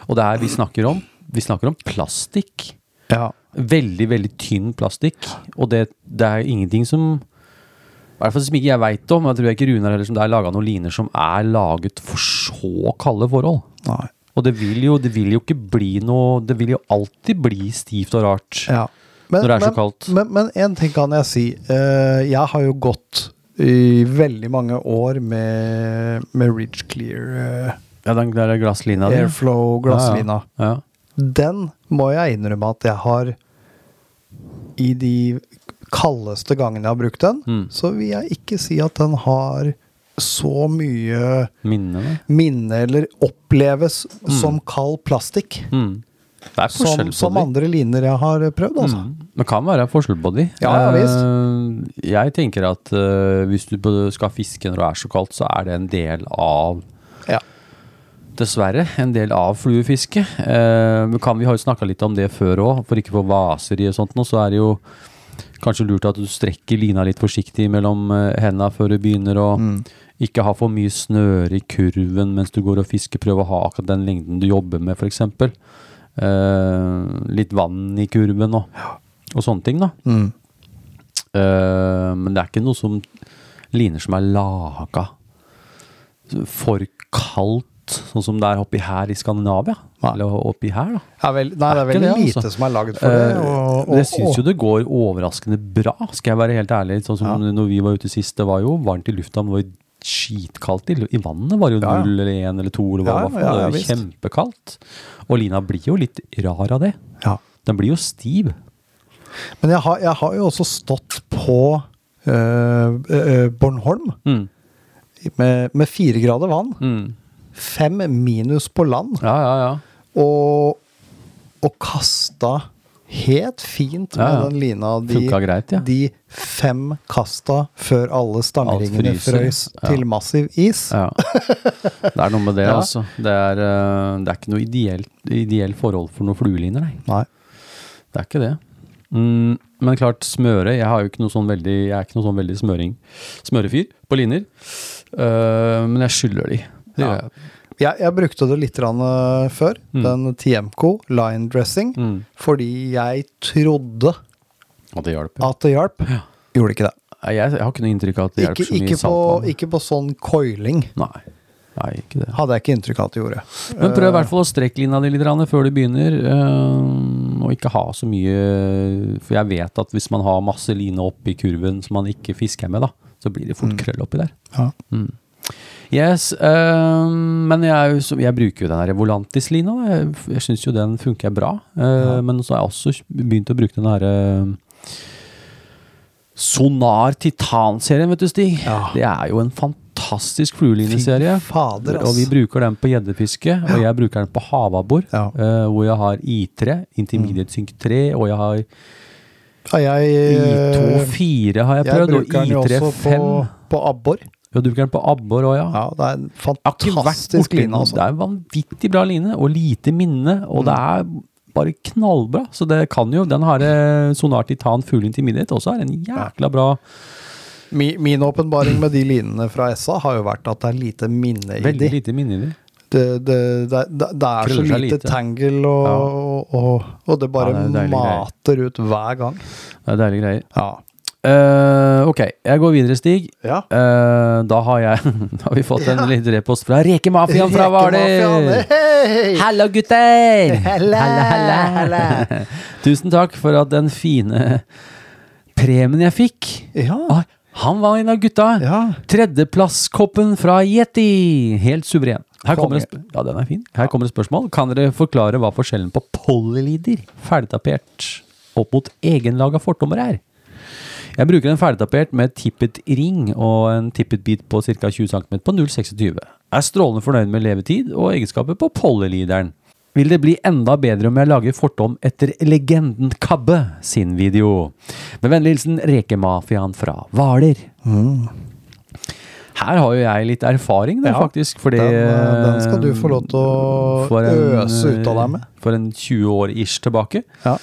Speaker 1: Og det er vi snakker om. Vi snakker om plastikk.
Speaker 5: Ja.
Speaker 1: Veldig, veldig tynn plastikk. Og det, det er ingenting som i hvert fall som ikke jeg veit om. Jeg tror ikke Runar heller som det er laga noen liner som er laget for så kalde forhold.
Speaker 5: Nei.
Speaker 1: Og det vil jo, det vil jo ikke bli noe Det vil jo alltid bli stivt og rart.
Speaker 5: Ja.
Speaker 1: Når det er så kaldt.
Speaker 5: Men, men en ting kan jeg si. Eh, jeg har jo gått i veldig mange år med, med Ridge Clear
Speaker 1: Ja, den der glasslina
Speaker 5: eh,
Speaker 1: di.
Speaker 5: Airflow-glasslina.
Speaker 1: Ja, ja.
Speaker 5: Den må jeg innrømme at jeg har I
Speaker 1: Mm.
Speaker 5: de kaldeste gangene jeg har brukt den, så vil jeg ikke si at den har så mye
Speaker 1: Minnene.
Speaker 5: minne eller oppleves som kald plastikk.
Speaker 1: Mm. Det er Mm. forskjell
Speaker 5: Som,
Speaker 1: på de.
Speaker 5: som
Speaker 1: Mm.
Speaker 5: andre liner jeg har prøvd, altså.
Speaker 1: Det kan være forskjell på de.
Speaker 5: Ja, ja,
Speaker 1: Eh, jeg tenker at eh, hvis du både skal fiske når det er så kaldt, så er det en del av
Speaker 5: Ja.
Speaker 1: Dessverre. En del av fluefiske. Eh, men kan, vi har jo snakka litt om det før òg, for ikke å få vaser i og sånt. Nå, så er det jo kanskje lurt at du strekker lina litt forsiktig mellom eh, henda før du begynner å
Speaker 5: Mm.
Speaker 1: ikke ha for mye snøre i kurven mens du går og fisker. Prøv å ha akkurat den lengden du jobber med, f.eks. Eh, litt vann i kurven og, og sånne ting, da. Eh, men det er ikke noe som liner som er laga for kaldt, sånn som det er oppi her i Skandinavia.
Speaker 5: Nei.
Speaker 1: Eller oppi her, da.
Speaker 5: Ja, vel, nei, det er
Speaker 1: ikke
Speaker 5: veldig
Speaker 1: det,
Speaker 5: lite
Speaker 1: altså.
Speaker 5: som er laget for det.
Speaker 1: Eh,
Speaker 5: Og,
Speaker 1: men jeg syns jo det går overraskende bra, skal jeg være helt ærlig. Sånn som når vi var ute sist, det var jo varmt i lufta, men det var jo skitkaldt i, lu- i vannet. Var det jo
Speaker 5: Ja, ja.
Speaker 1: null eller én eller to, eller hva
Speaker 5: Ja,
Speaker 1: det var. for noe.
Speaker 5: ja, ja,
Speaker 1: det var jo
Speaker 5: visst.
Speaker 1: kjempekaldt. Og lina blir jo litt rar av det.
Speaker 5: ja.
Speaker 1: Den blir jo stiv.
Speaker 5: Men jeg har, jeg har jo også stått på eh, eh, Bornholm med, med fire grader vann.
Speaker 1: Mm.
Speaker 5: Fem minus på land.
Speaker 1: Ja, ja, ja.
Speaker 5: Og, og kasta helt fint med
Speaker 1: Ja, ja.
Speaker 5: den lina de,
Speaker 1: Funka greit, ja.
Speaker 5: de fem kasta før alle stangringene
Speaker 1: Alt fryser.
Speaker 5: frøs
Speaker 1: Ja.
Speaker 5: til massiv is.
Speaker 1: Ja. Det er noe med det,
Speaker 5: Ja.
Speaker 1: altså. Det er, eh, det er ikke noe ideelt ideell forhold for noen flueliner, nei.
Speaker 5: Nei.
Speaker 1: Det er ikke det. Mm, men klart, smøre Jeg, har jo ikke noe sånn veldig, jeg er ikke noe sånn veldig smøring, smørefyr på liner. Eh, men jeg skylder de. Det
Speaker 5: Ja.
Speaker 1: gjør jeg.
Speaker 5: Jeg, jeg brukte det litt grann, eh, før,
Speaker 1: Mm.
Speaker 5: den TMCO line dressing,
Speaker 1: Mm.
Speaker 5: fordi jeg trodde
Speaker 1: Og det hjalp. ja.
Speaker 5: at det hjalp. Gjorde ikke det.
Speaker 1: Nei, Jeg, jeg har ikke noe inntrykk av at det hjelper
Speaker 5: Ikke,
Speaker 1: så mye
Speaker 5: ikke,
Speaker 1: i
Speaker 5: på,
Speaker 1: saltvann.
Speaker 5: ikke på sånn coiling
Speaker 1: Nei. Nei, ikke det.
Speaker 5: hadde jeg ikke inntrykk av at det gjorde.
Speaker 1: Men
Speaker 5: Eh.
Speaker 1: prøv i hvert fall å strekke lina di litt grann før du begynner. eh, og ikke ha så mye For jeg vet at hvis man har masse line oppi kurven som man ikke fisker med, da, så blir det fort krøll oppi der.
Speaker 5: Ja.
Speaker 1: Mm. Yes, eh, men jeg, er jo så- jeg bruker jo den her Volantis-lina. da. Jeg, jeg syns jo den funker bra. Eh, Men så har jeg også begynt å bruke den herre Sonar Titan-serien, vet du, Stig.
Speaker 5: Ja.
Speaker 1: Det er jo en fantastisk fluelineserie.
Speaker 5: Fy fader, ass.
Speaker 1: Og vi bruker den på gjeddefiske, og jeg bruker den på havabbor.
Speaker 5: Ja. Mm.
Speaker 1: eh, hvor jeg har I3, intermediate synk 3, og jeg har
Speaker 5: Ja, jeg,
Speaker 1: I2-4 har jeg
Speaker 5: Eh, jeg
Speaker 1: prøvd, og
Speaker 5: bruker den jo også på,
Speaker 1: I3-5.
Speaker 5: på abbor.
Speaker 1: Ja, du bruker den på abbor òg, ja.
Speaker 5: Ja, det er en
Speaker 1: Jeg har ikke vært
Speaker 5: fantastisk
Speaker 1: borti
Speaker 5: line,
Speaker 1: den. Det
Speaker 5: altså. Mm.
Speaker 1: er en vanvittig bra line, og lite minne, og det er bare knallbra. Så det kan jo Den har eh, Sonar Titan Fugle Intimidiate også er en jækla bra
Speaker 5: Mi- Min åpenbaring med de linene fra SA har jo vært at det er lite minne i de.
Speaker 1: Veldig lite minne i det.
Speaker 5: Det, det, det, det, det er så
Speaker 1: Krøller
Speaker 5: lite,
Speaker 1: seg lite.
Speaker 5: tangle, og, og, og det bare
Speaker 1: Ja, det er deilige greier.
Speaker 5: mater ut hver gang.
Speaker 1: Det er deilige greier.
Speaker 5: Ja.
Speaker 1: Eh, ok, jeg går videre, Stig.
Speaker 5: Ja.
Speaker 1: Eh, da har jeg Da har vi fått en liten repost fra Rekemafiaen fra Hvaler.
Speaker 5: Rekemafianen, hei!
Speaker 1: Hallo, gutter!
Speaker 5: Halla,
Speaker 1: Tusen takk for at den fine premien jeg fikk
Speaker 5: Ja.
Speaker 1: Ah, Han var en av gutta.
Speaker 5: Ja.
Speaker 1: Tredjeplasskoppen fra Yeti. Helt suveren. Her kommer, det
Speaker 5: Konge.
Speaker 1: sp- ja, den er fin. Her kommer det spørsmål. Kan dere forklare hva forskjellen på polylider, ferdigtapert, opp mot egenlaga fortommer er? Jeg bruker en ferdigtapert med tippet ring og en tippet bit på ca. 20 cm på 0,26. Er strålende fornøyd med levetid og egenskaper på pollelideren. Vil det bli enda bedre om jeg lager fortom etter legenden Kabbe sin video? Med vennlig hilsen Rekemafiaen fra Hvaler. Her har jo jeg litt erfaring, da,
Speaker 5: Ja,
Speaker 1: faktisk. Fordi
Speaker 5: den, eh, den skal du få lov til å
Speaker 1: eh, for en, eh,
Speaker 5: øse ut av deg med.
Speaker 1: For en 20 år ish tilbake
Speaker 5: Ja.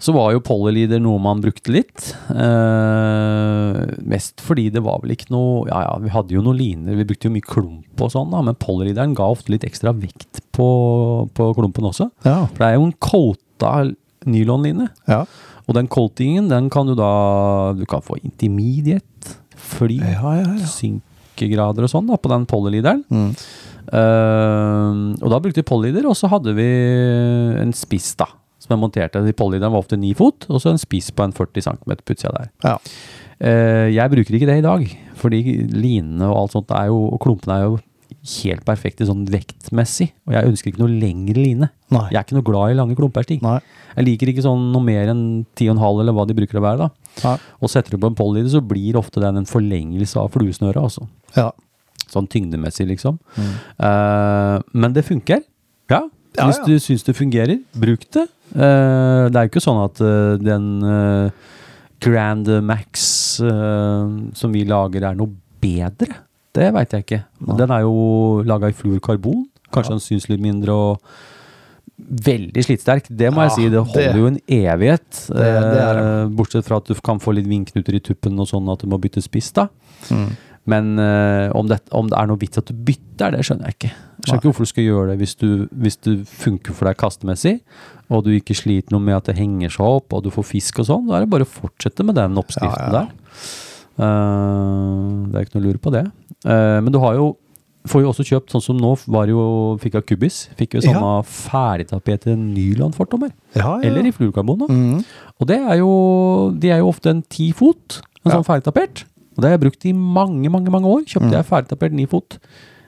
Speaker 1: så var jo Polyleader noe man brukte litt. Eh, mest fordi det var vel ikke noe Ja ja, vi hadde jo noen liner, vi brukte jo mye klump og sånn, da, men Polyleaderen ga ofte litt ekstra vekt på, på klumpen også.
Speaker 5: Ja.
Speaker 1: For det er jo en coata nylonline,
Speaker 5: Ja.
Speaker 1: og den coatingen den kan du da Du kan få intermediate, fly,
Speaker 5: Ja, ja, ja.
Speaker 1: synkegrader og sånn da, på den Polyleaderen.
Speaker 5: Mm.
Speaker 1: Eh, og da brukte vi polyder, og så hadde vi en spiss, da. Som jeg monterte. De Polyderen var ofte ni fot, og så en spiss på en 40 cm puttet jeg der.
Speaker 5: ja.
Speaker 1: Eh, jeg bruker ikke det i dag, fordi linene og alt sånt er jo, og klumpene er jo helt perfekte sånn vektmessig. Og jeg ønsker ikke noe lengre line.
Speaker 5: Nei.
Speaker 1: Jeg er ikke noe glad i lange klumper. Stig.
Speaker 5: Nei.
Speaker 1: Jeg liker ikke sånn noe mer enn 10,5 eller hva de bruker å være. da.
Speaker 5: Nei.
Speaker 1: Og setter du på en polyder, så blir ofte den en forlengelse av fluesnøret. altså.
Speaker 5: Ja.
Speaker 1: sånn tyngdemessig, liksom.
Speaker 5: Mm.
Speaker 1: Eh, men det funker. Ja.
Speaker 5: Ja,
Speaker 1: Hvis
Speaker 5: ja.
Speaker 1: du syns det fungerer, bruk det. Eh, det er jo ikke sånn at eh, den eh, Grand Max eh, som vi lager, er noe bedre. Det veit jeg ikke. Den er jo laga i fluorkarbon. Kanskje den syns litt mindre og Veldig slitsterk. Det må jeg
Speaker 5: Ja,
Speaker 1: si. Det holder
Speaker 5: det-
Speaker 1: jo en evighet.
Speaker 5: det er det.
Speaker 1: Eh, Bortsett fra at du kan få litt vindknuter i tuppen og sånn at du må bytte spiss, da. Mm. Men eh, om, det, om det er noe vits at du bytter, det skjønner jeg ikke. Jeg skjønner ikke hvorfor du skal gjøre det hvis du, hvis du funker for deg kastemessig, og du ikke sliter noe med at det henger seg opp, og du får fisk og sånn. Da er det bare å fortsette med den oppskriften
Speaker 5: Ja, ja.
Speaker 1: der. Eh, det er ikke noe lur på det. Eh, men du har jo Får jo også kjøpt, sånn som nå var jo, fikk jeg kubis. Fikk jo
Speaker 5: Ja.
Speaker 1: samme ferdigtapete nylonfortommer.
Speaker 5: Ja, ja.
Speaker 1: Eller Mm. i fluorkarbon. da.
Speaker 5: Mhm.
Speaker 1: Og det er jo, de er jo ofte en ti fot, en sånn ferdigtapert. Og det har jeg brukt i mange, mange mange år.
Speaker 5: Mm.
Speaker 1: Kjøpte jeg ferdigtapert ni fot,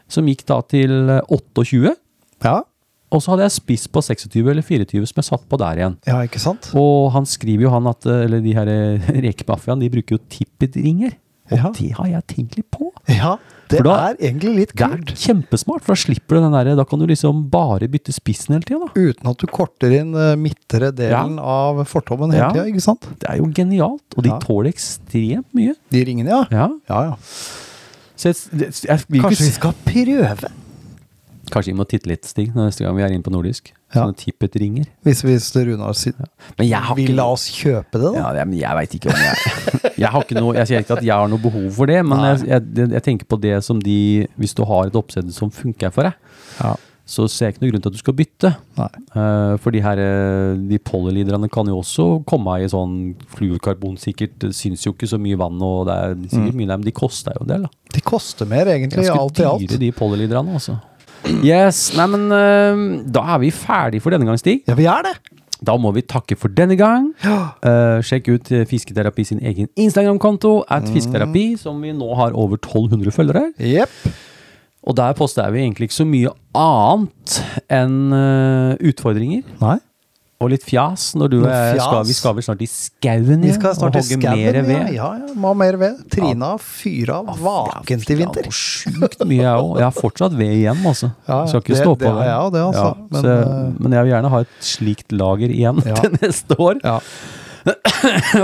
Speaker 1: som gikk da til eh, 28.
Speaker 5: ja.
Speaker 1: Og så hadde jeg spiss på 26 eller 24 som jeg satt på der igjen.
Speaker 5: ja, ikke sant?
Speaker 1: Og han skriver jo han at, eh, eller de her eh, rekemafiaen, de bruker jo tippetringer. Og
Speaker 5: Ja.
Speaker 1: det har jeg tenkt litt på.
Speaker 5: Ja, det
Speaker 1: For da-
Speaker 5: er egentlig litt
Speaker 1: Det er
Speaker 5: kult.
Speaker 1: kjempesmart, for da slipper du den der, da kan du liksom bare bytte spissen hele tida, da.
Speaker 5: Uten at du korter inn eh, midtre delen av fortommen hele
Speaker 1: Ja.
Speaker 5: tida, ikke sant?
Speaker 1: Det er jo genialt, og de
Speaker 5: Ja.
Speaker 1: tåler ekstremt mye.
Speaker 5: De ringene, ja.
Speaker 1: Ja.
Speaker 5: Ja, ja.
Speaker 1: Så jeg, jeg, jeg, vil ikke
Speaker 5: Kanskje
Speaker 1: si-
Speaker 5: vi skal prøve?
Speaker 1: Kanskje vi må titte litt, Stig, neste gang vi er inne på nordisk.
Speaker 5: Ja.
Speaker 1: Sånne tippetringer.
Speaker 5: Hvis, hvis Runar sier
Speaker 1: Men jeg har
Speaker 5: Vil
Speaker 1: ikke
Speaker 5: la oss kjøpe det, da?
Speaker 1: ja, det- men jeg veit ikke om jeg Jeg har ikke noe Jeg sier ikke at jeg har noe behov for det, men jeg, jeg, det- jeg tenker på det som de Hvis du har et oppsett som funker for deg,
Speaker 5: Ja.
Speaker 1: så ser jeg ikke noen grunn til at du skal bytte.
Speaker 5: Nei.
Speaker 1: Eh, for de her eh, De polyliderne kan jo også komme i sånn fluorkarbon, sikkert. Det syns jo ikke så mye vann, og det er
Speaker 5: Mm.
Speaker 1: sikkert mye der, men de koster jo en del, da.
Speaker 5: De koster mer, egentlig,
Speaker 1: Ganske
Speaker 5: alt i alt.
Speaker 1: dyre, de polyliderne, altså. Yes. Nei, men eh, da er vi ferdig for denne gang, Stig.
Speaker 5: Ja, vi er det!
Speaker 1: Da må vi takke for denne gang. Eh, sjekk ut eh, Fisketerapi sin egen Instagram-konto, at
Speaker 5: Mm.
Speaker 1: fisketerapi, som vi nå har over 1200 følgere.
Speaker 5: Jepp.
Speaker 1: Og der poster vi egentlig ikke så mye annet enn eh, utfordringer.
Speaker 5: Nei.
Speaker 1: Og litt fjas når du
Speaker 5: Noe
Speaker 1: er skal,
Speaker 5: fjas.
Speaker 1: Vi skal vel snart i skauen
Speaker 5: Vi
Speaker 1: igjen
Speaker 5: skal snart
Speaker 1: og
Speaker 5: til
Speaker 1: hogge
Speaker 5: skauen.
Speaker 1: mer
Speaker 5: Ja,
Speaker 1: ved.
Speaker 5: ja, ja. Må ha mer ved. Trina fyrer av vakent i vinter.
Speaker 1: Ja, sjukt mye, jeg òg. Jeg har fortsatt ved igjen, altså.
Speaker 5: Ja, ja.
Speaker 1: Skal ikke
Speaker 5: Det-
Speaker 1: stå på
Speaker 5: det har jeg også, det, altså. Men,
Speaker 1: men, så,
Speaker 5: eh,
Speaker 1: men jeg vil gjerne ha et slikt lager igjen
Speaker 5: Ja.
Speaker 1: til neste år.
Speaker 5: Ja.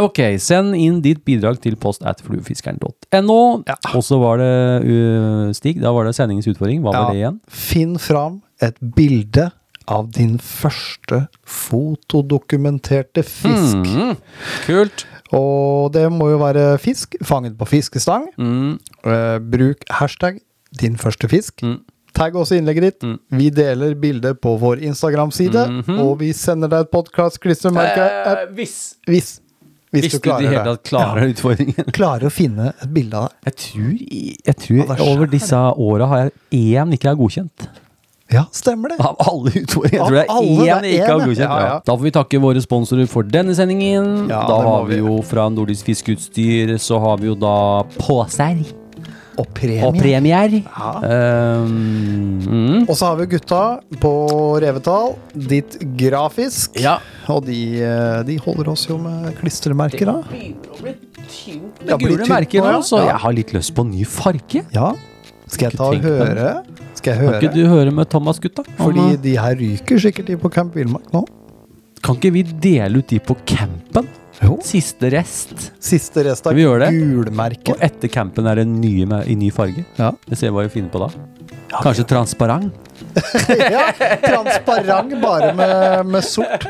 Speaker 1: Ok, send inn ditt bidrag til post at fluefiskeren.no. Og så var det uh, Stig, da var det sendingens utfordring. Hva var det igjen?
Speaker 5: Finn fram et bilde av din første fotodokumenterte fisk.
Speaker 1: Hmm. Mm. Kult.
Speaker 5: Og det må jo være fisk fanget på fiskestang.
Speaker 1: Hmm.
Speaker 5: Eh, bruk hashtag 'din første fisk'.
Speaker 1: Hmm.
Speaker 5: Tagg også innlegget ditt. Vi deler bildet på vår Instagram-side.
Speaker 1: Mhm.
Speaker 5: Og vi sender deg et podkast-klistremerke. Eh,
Speaker 1: hvis
Speaker 5: hvis, hvis,
Speaker 1: hvis du i
Speaker 5: du
Speaker 1: det
Speaker 5: klarer
Speaker 1: hele
Speaker 5: det.
Speaker 1: tatt klarer utfordringen.
Speaker 5: Klarer å finne et bilde av det.
Speaker 1: Jeg tror, i- jeg tror
Speaker 5: Ja, det er
Speaker 1: over disse åra har jeg én ikke er godkjent.
Speaker 5: Ja, stemmer det.
Speaker 1: Av alle utfordringer. Jeg
Speaker 5: Av
Speaker 1: tror det
Speaker 5: alle,
Speaker 1: er én
Speaker 5: det er
Speaker 1: jeg ikke har
Speaker 5: én,
Speaker 1: godkjent.
Speaker 5: ja. Ja,
Speaker 1: Ja,
Speaker 5: ja.
Speaker 1: Da får vi takke våre sponsorer for denne sendingen.
Speaker 5: Ja,
Speaker 1: da
Speaker 5: det må
Speaker 1: har vi
Speaker 5: vi.
Speaker 1: jo fra Nordisk Fiskeutstyr så har vi jo da poser
Speaker 5: Og premie.
Speaker 1: og
Speaker 5: Og,
Speaker 1: premier.
Speaker 5: Ja.
Speaker 1: Ehm, mm.
Speaker 5: så har vi gutta på Revetal, ditt grafisk.
Speaker 1: Ja.
Speaker 5: Og de, eh, de holder oss jo med klistremerker, da.
Speaker 1: Det
Speaker 5: blir
Speaker 1: gule
Speaker 5: tynt
Speaker 1: merker
Speaker 5: nå, ja.
Speaker 1: nå, så
Speaker 5: Ja.
Speaker 1: jeg har litt lyst på en ny farge.
Speaker 5: Ja. Skal jeg ta og
Speaker 1: tenkt på det.
Speaker 5: høre? Skal jeg
Speaker 1: Kan ikke
Speaker 5: høre?
Speaker 1: du høre med Thomas, gutta? Om,
Speaker 5: Fordi
Speaker 1: eh,
Speaker 5: de her ryker sikkert de på Camp Villmark nå.
Speaker 1: kan ikke vi dele ut de på campen?
Speaker 5: Jo.
Speaker 1: Siste rest.
Speaker 5: Siste rest av
Speaker 1: Skal vi gjøre det? Og
Speaker 5: gulmerket.
Speaker 1: etter campen er det nye med, i ny farge.
Speaker 5: Ja.
Speaker 1: Vi ser hva vi finner på da. Kanskje transparent?
Speaker 5: ja, transparent bare med, med sort.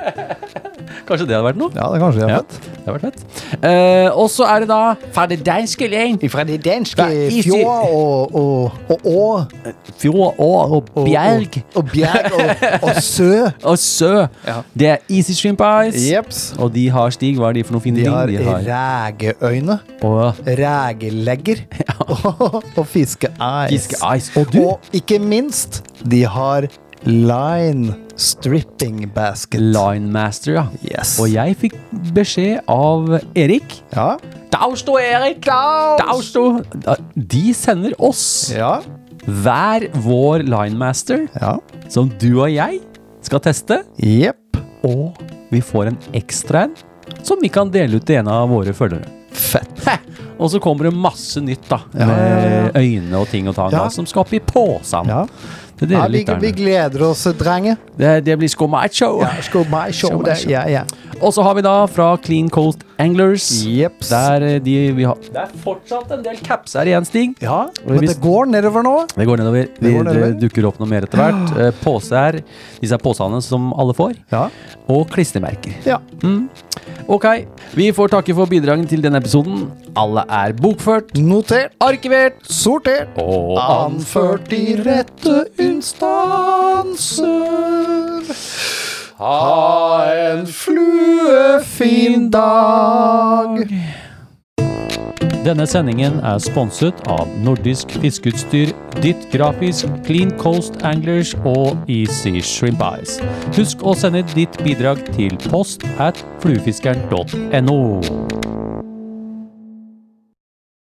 Speaker 1: Kanskje det hadde vært noe?
Speaker 5: Ja, det er kanskje jeg
Speaker 1: Ja,
Speaker 5: vet.
Speaker 1: det har vært fett. Eh, og så er det da Fader Danskeling,
Speaker 5: Fra de danske
Speaker 1: Det er easy.
Speaker 5: fjå og, og, og, og,
Speaker 1: Fjord og, og
Speaker 5: og
Speaker 1: Bjerg
Speaker 5: Og, og bjerg og, og sø.
Speaker 1: og Sø.
Speaker 5: Ja.
Speaker 1: Det er Easy Shrimp Ice.
Speaker 5: Jeps.
Speaker 1: Og de har Stig, hva er de for noen fine
Speaker 5: De har
Speaker 1: ting? De har
Speaker 5: regeøyne,
Speaker 1: og
Speaker 5: regelegger og, og fiskeeis.
Speaker 1: Fiske Ice. Og du,
Speaker 5: Og ikke minst, de har line stripping basket.
Speaker 1: Linemaster, ja.
Speaker 5: Yes.
Speaker 1: Og jeg fikk beskjed av Erik.
Speaker 5: Ja.
Speaker 1: Dausto, Erik! Dausto! Da- De sender oss
Speaker 5: Ja.
Speaker 1: hver vår Linemaster,
Speaker 5: Ja.
Speaker 1: som du og jeg skal teste.
Speaker 5: Jepp.
Speaker 1: Og vi får en ekstra en som vi kan dele ut til en av våre følgere. Fett. Og så kommer det masse nytt, da. Med øyne og ting og tang da,
Speaker 5: Ja.
Speaker 1: som skal opp i posen.
Speaker 5: Ja.
Speaker 1: Til
Speaker 5: Ja,
Speaker 1: dere
Speaker 5: vi, vi
Speaker 1: lytterne.
Speaker 5: gleder oss, drenger.
Speaker 1: Det, det blir skum et show.
Speaker 5: Ja, skal meg se
Speaker 1: Skal meg
Speaker 5: det.
Speaker 1: se.
Speaker 5: Ja, ja.
Speaker 1: Og så har vi da fra Clean Coast Anglers.
Speaker 5: Jeps.
Speaker 1: Der eh, de vi har Det er fortsatt en del caps her igjen, Stig.
Speaker 5: Ja,
Speaker 1: Og
Speaker 5: men
Speaker 1: hvis-
Speaker 5: det går nedover nå.
Speaker 1: Det går nedover. Vi,
Speaker 5: Det går nedover.
Speaker 1: Det dukker opp noe mer etter hvert. Eh, Poser. Disse er posene som alle får.
Speaker 5: Ja.
Speaker 1: Og klistremerker.
Speaker 5: ja.
Speaker 1: Ok, vi får takke for bidragene til denne episoden. Alle er bokført,
Speaker 5: Notert,
Speaker 1: arkivert
Speaker 5: sortert,
Speaker 1: og
Speaker 5: anført i rette instanser. Ha en fluefin dag.
Speaker 1: Denne sendingen er sponset av Nordisk Fiskeutstyr, Ditt Grafisk, Clean Coast Anglers og Easy Shrimp Eyes. Husk å sende ditt bidrag til post at fluefiskeren.no.